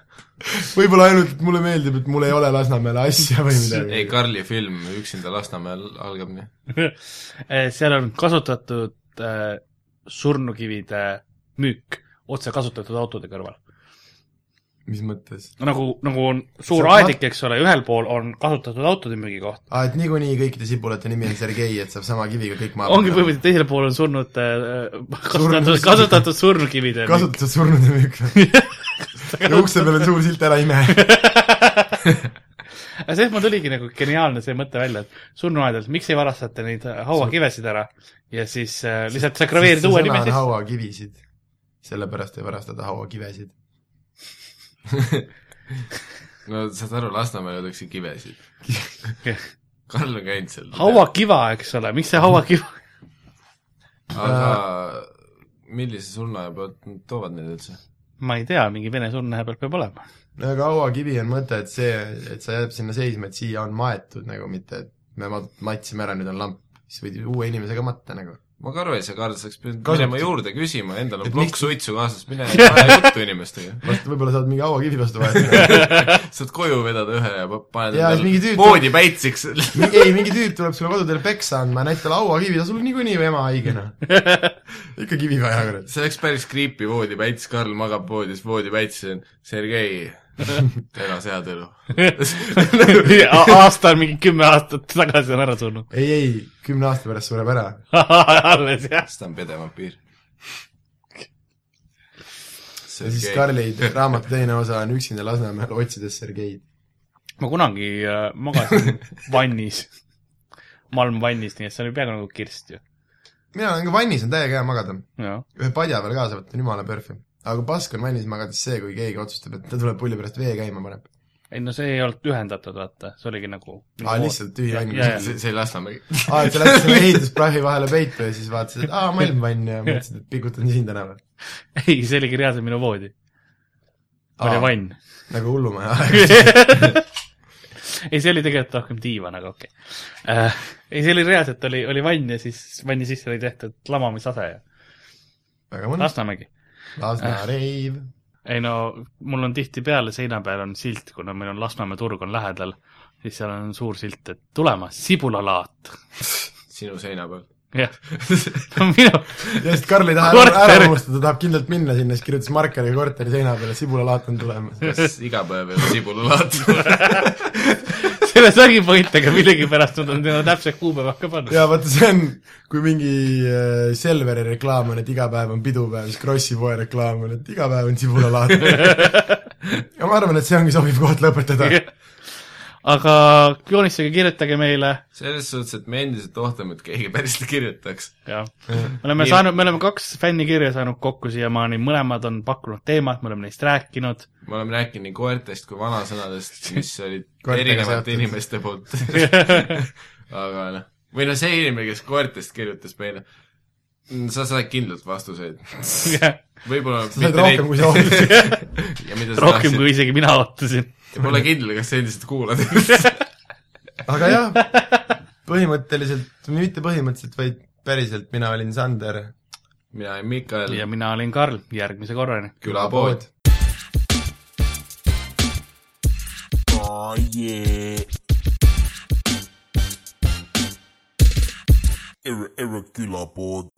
[SPEAKER 3] võib-olla ainult , et mulle meeldib , et mul ei ole Lasnamäele asja või midagi
[SPEAKER 4] ei ,. Karli film Üksinda Lasnamäel algab nii .
[SPEAKER 2] Eh, seal on kasutatud äh, surnukivide müük otse kasutatud autode kõrval .
[SPEAKER 3] mis mõttes ?
[SPEAKER 2] nagu , nagu on suur
[SPEAKER 3] See on
[SPEAKER 2] aedik , eks ole , ühel pool on kasutatud autode müügikoht .
[SPEAKER 3] aa , Ah, et niikuinii kõikide sibulate nimi on Sergei , et saab sama kiviga kõik maha
[SPEAKER 2] ongi põhimõtteliselt teisel pool on surnud äh, , kasutatud ,
[SPEAKER 3] Surnud-
[SPEAKER 2] kasutatud surnukivide müük .
[SPEAKER 3] kasutatud surnude müük või ? ja ukse peal on suur silt , ära ime .
[SPEAKER 2] aga sellest mul tuligi nagu geniaalne see mõte välja , et surnuaedades , miks ei varastate neid hauakivesid ära ja siis äh, lihtsalt sakraveerid uue nime sisse .
[SPEAKER 3] hauakivisid . sellepärast ei varastata hauakivesid .
[SPEAKER 4] no saad aru , Lasnamäel öeldakse kivesid . Karl on käinud seal .
[SPEAKER 2] hauakiva , eks ole , miks see hauakiva ,
[SPEAKER 4] aga
[SPEAKER 3] Äh,
[SPEAKER 4] millise surnuaia pealt nad toovad neid üldse ?
[SPEAKER 2] ma ei tea , mingi vene surnuaia peal peab olema .
[SPEAKER 3] no aga hauakivi on mõte , et see , et sa jääb sinna seisma , et siia on maetud nagu , mitte et me ma- matsime ära , nüüd on lamp . siis võid ju uue inimesega matta nagu .
[SPEAKER 4] ma ka aru ei saa , Karl , sa oleks pidanud
[SPEAKER 3] Kasuta-
[SPEAKER 4] minema juurde küsima , endal on
[SPEAKER 3] Et
[SPEAKER 4] plokk
[SPEAKER 3] miks-
[SPEAKER 4] suitsu kaasas , mine aja juttu inimestega .
[SPEAKER 3] vast võib-olla saad mingi hauakivi vastu vahetada .
[SPEAKER 4] saad koju vedada ühe ja pa- paned
[SPEAKER 3] Jaa, siis mingi tüüp-
[SPEAKER 4] moodi päitsiks .
[SPEAKER 3] ei , mingi tüüp tuleb sulle kodutööl peksa andma ja näitab hauakivi , sul on niikuinii ju ema haigena . ikka kivi vaja , kurat .
[SPEAKER 4] see oleks päris creepy voodi päits , Karl magab voodis , voodi päits on Sergei , elas head elu .
[SPEAKER 2] aasta on mingi kümme aastat tagasi on ära surnud .
[SPEAKER 3] ei , ei , kümne aasta pärast sureb ära
[SPEAKER 2] alles jah .
[SPEAKER 4] siis ta on pede vampiir .
[SPEAKER 3] ja siis Karli raamatu teine osa on Üksinda Lasnamäel otsides Sergeid .
[SPEAKER 2] ma kunagi äh, magasin vannis , malmvannis , nii et see oli peaaegu nagu kirst ju .
[SPEAKER 3] mina olen ka vannis , on täiega hea magada .
[SPEAKER 2] jah ,
[SPEAKER 3] ühe padja peal kaasa võtta , on jumala perfekt . aga pask on vannis magades see , kui keegi otsustab , et ta tuleb pulli pärast vee käima paneb .
[SPEAKER 2] ei no see ei olnud ühendatud , vaata , see oligi nagu .
[SPEAKER 3] aa , lihtsalt tühi vann .
[SPEAKER 2] Jaa, jaa.
[SPEAKER 4] see , see Lasnamägi .
[SPEAKER 3] aa , et sa lähed selle ehitusprahvi vahele peitu ja siis vaatasid , et aa , malm vann ja mõtlesid , et pikutan siin tänaval .
[SPEAKER 2] ei , see oligi reaalselt minu voodi .
[SPEAKER 3] Aa.
[SPEAKER 2] oli vann .
[SPEAKER 3] nagu hullumaja aeg .
[SPEAKER 2] ei , see oli tegelikult rohkem diivan , aga okei okay. . ei , see oli reaalselt oli , oli vann ja siis vanni sisse oli tehtud lamamisase ja
[SPEAKER 3] väga mõnus .
[SPEAKER 2] Lasnamägi .
[SPEAKER 3] Lasna reiv .
[SPEAKER 2] ei no , mul on tihtipeale seina peal on silt , kuna meil on Lasnamäe turg on lähedal , siis seal on suur silt , et tulemas sibulalaat .
[SPEAKER 4] sinu seina peal .
[SPEAKER 2] jah , minu ,
[SPEAKER 3] ja siis Karl ei taha ära,
[SPEAKER 2] Korter.
[SPEAKER 3] ära unustada , tahab kindlalt minna sinna , siis kirjutas markeriga korteri seina peale , sibulalaat on tulemas .
[SPEAKER 4] kas iga päev ei ole sibulalaat ?
[SPEAKER 2] selles ongi point , aga millegipärast nad on teinud täpse kuupäeva ka pannud .
[SPEAKER 3] jaa , vaata see on , kui mingi äh, Selveri reklaam on , et iga päev on pidupäev , siis Krossi poe reklaam on , et iga päev on sibulalaat . ja ma arvan , et see ongi sobiv koht lõpetada .
[SPEAKER 2] aga joonistage , kirjutage meile
[SPEAKER 4] selles suhtes , et me endiselt ootame , et keegi päriselt kirjutaks .
[SPEAKER 2] ja me oleme
[SPEAKER 4] Nii.
[SPEAKER 2] saanud , me oleme kaks fännikirja saanud kokku siiamaani , mõlemad on pakkunud teemat , me oleme neist rääkinud .
[SPEAKER 4] me oleme rääkinud nii koertest kui vanasõnadest , mis olid
[SPEAKER 3] Koertega
[SPEAKER 4] erinevate
[SPEAKER 3] seotud.
[SPEAKER 4] inimeste poolt . aga noh , või noh , see inimene , kes koertest kirjutas meile , sa saad kindlalt vastuseid . võib-olla
[SPEAKER 3] said rohkem, kui sa
[SPEAKER 4] ootasid . ja mida sa
[SPEAKER 2] rohkem
[SPEAKER 4] tahtsid .
[SPEAKER 2] kui isegi mina ootasin .
[SPEAKER 4] Pole kindel , kas sa endiselt kuulad .
[SPEAKER 3] aga jah , põhimõtteliselt , mitte põhimõtteliselt , vaid päriselt , mina olin Sander .
[SPEAKER 4] mina olen Mikael
[SPEAKER 2] ja mina olin Karl , järgmise korrani .
[SPEAKER 4] külapood .
[SPEAKER 1] Oh yeah. Ir- irregular board.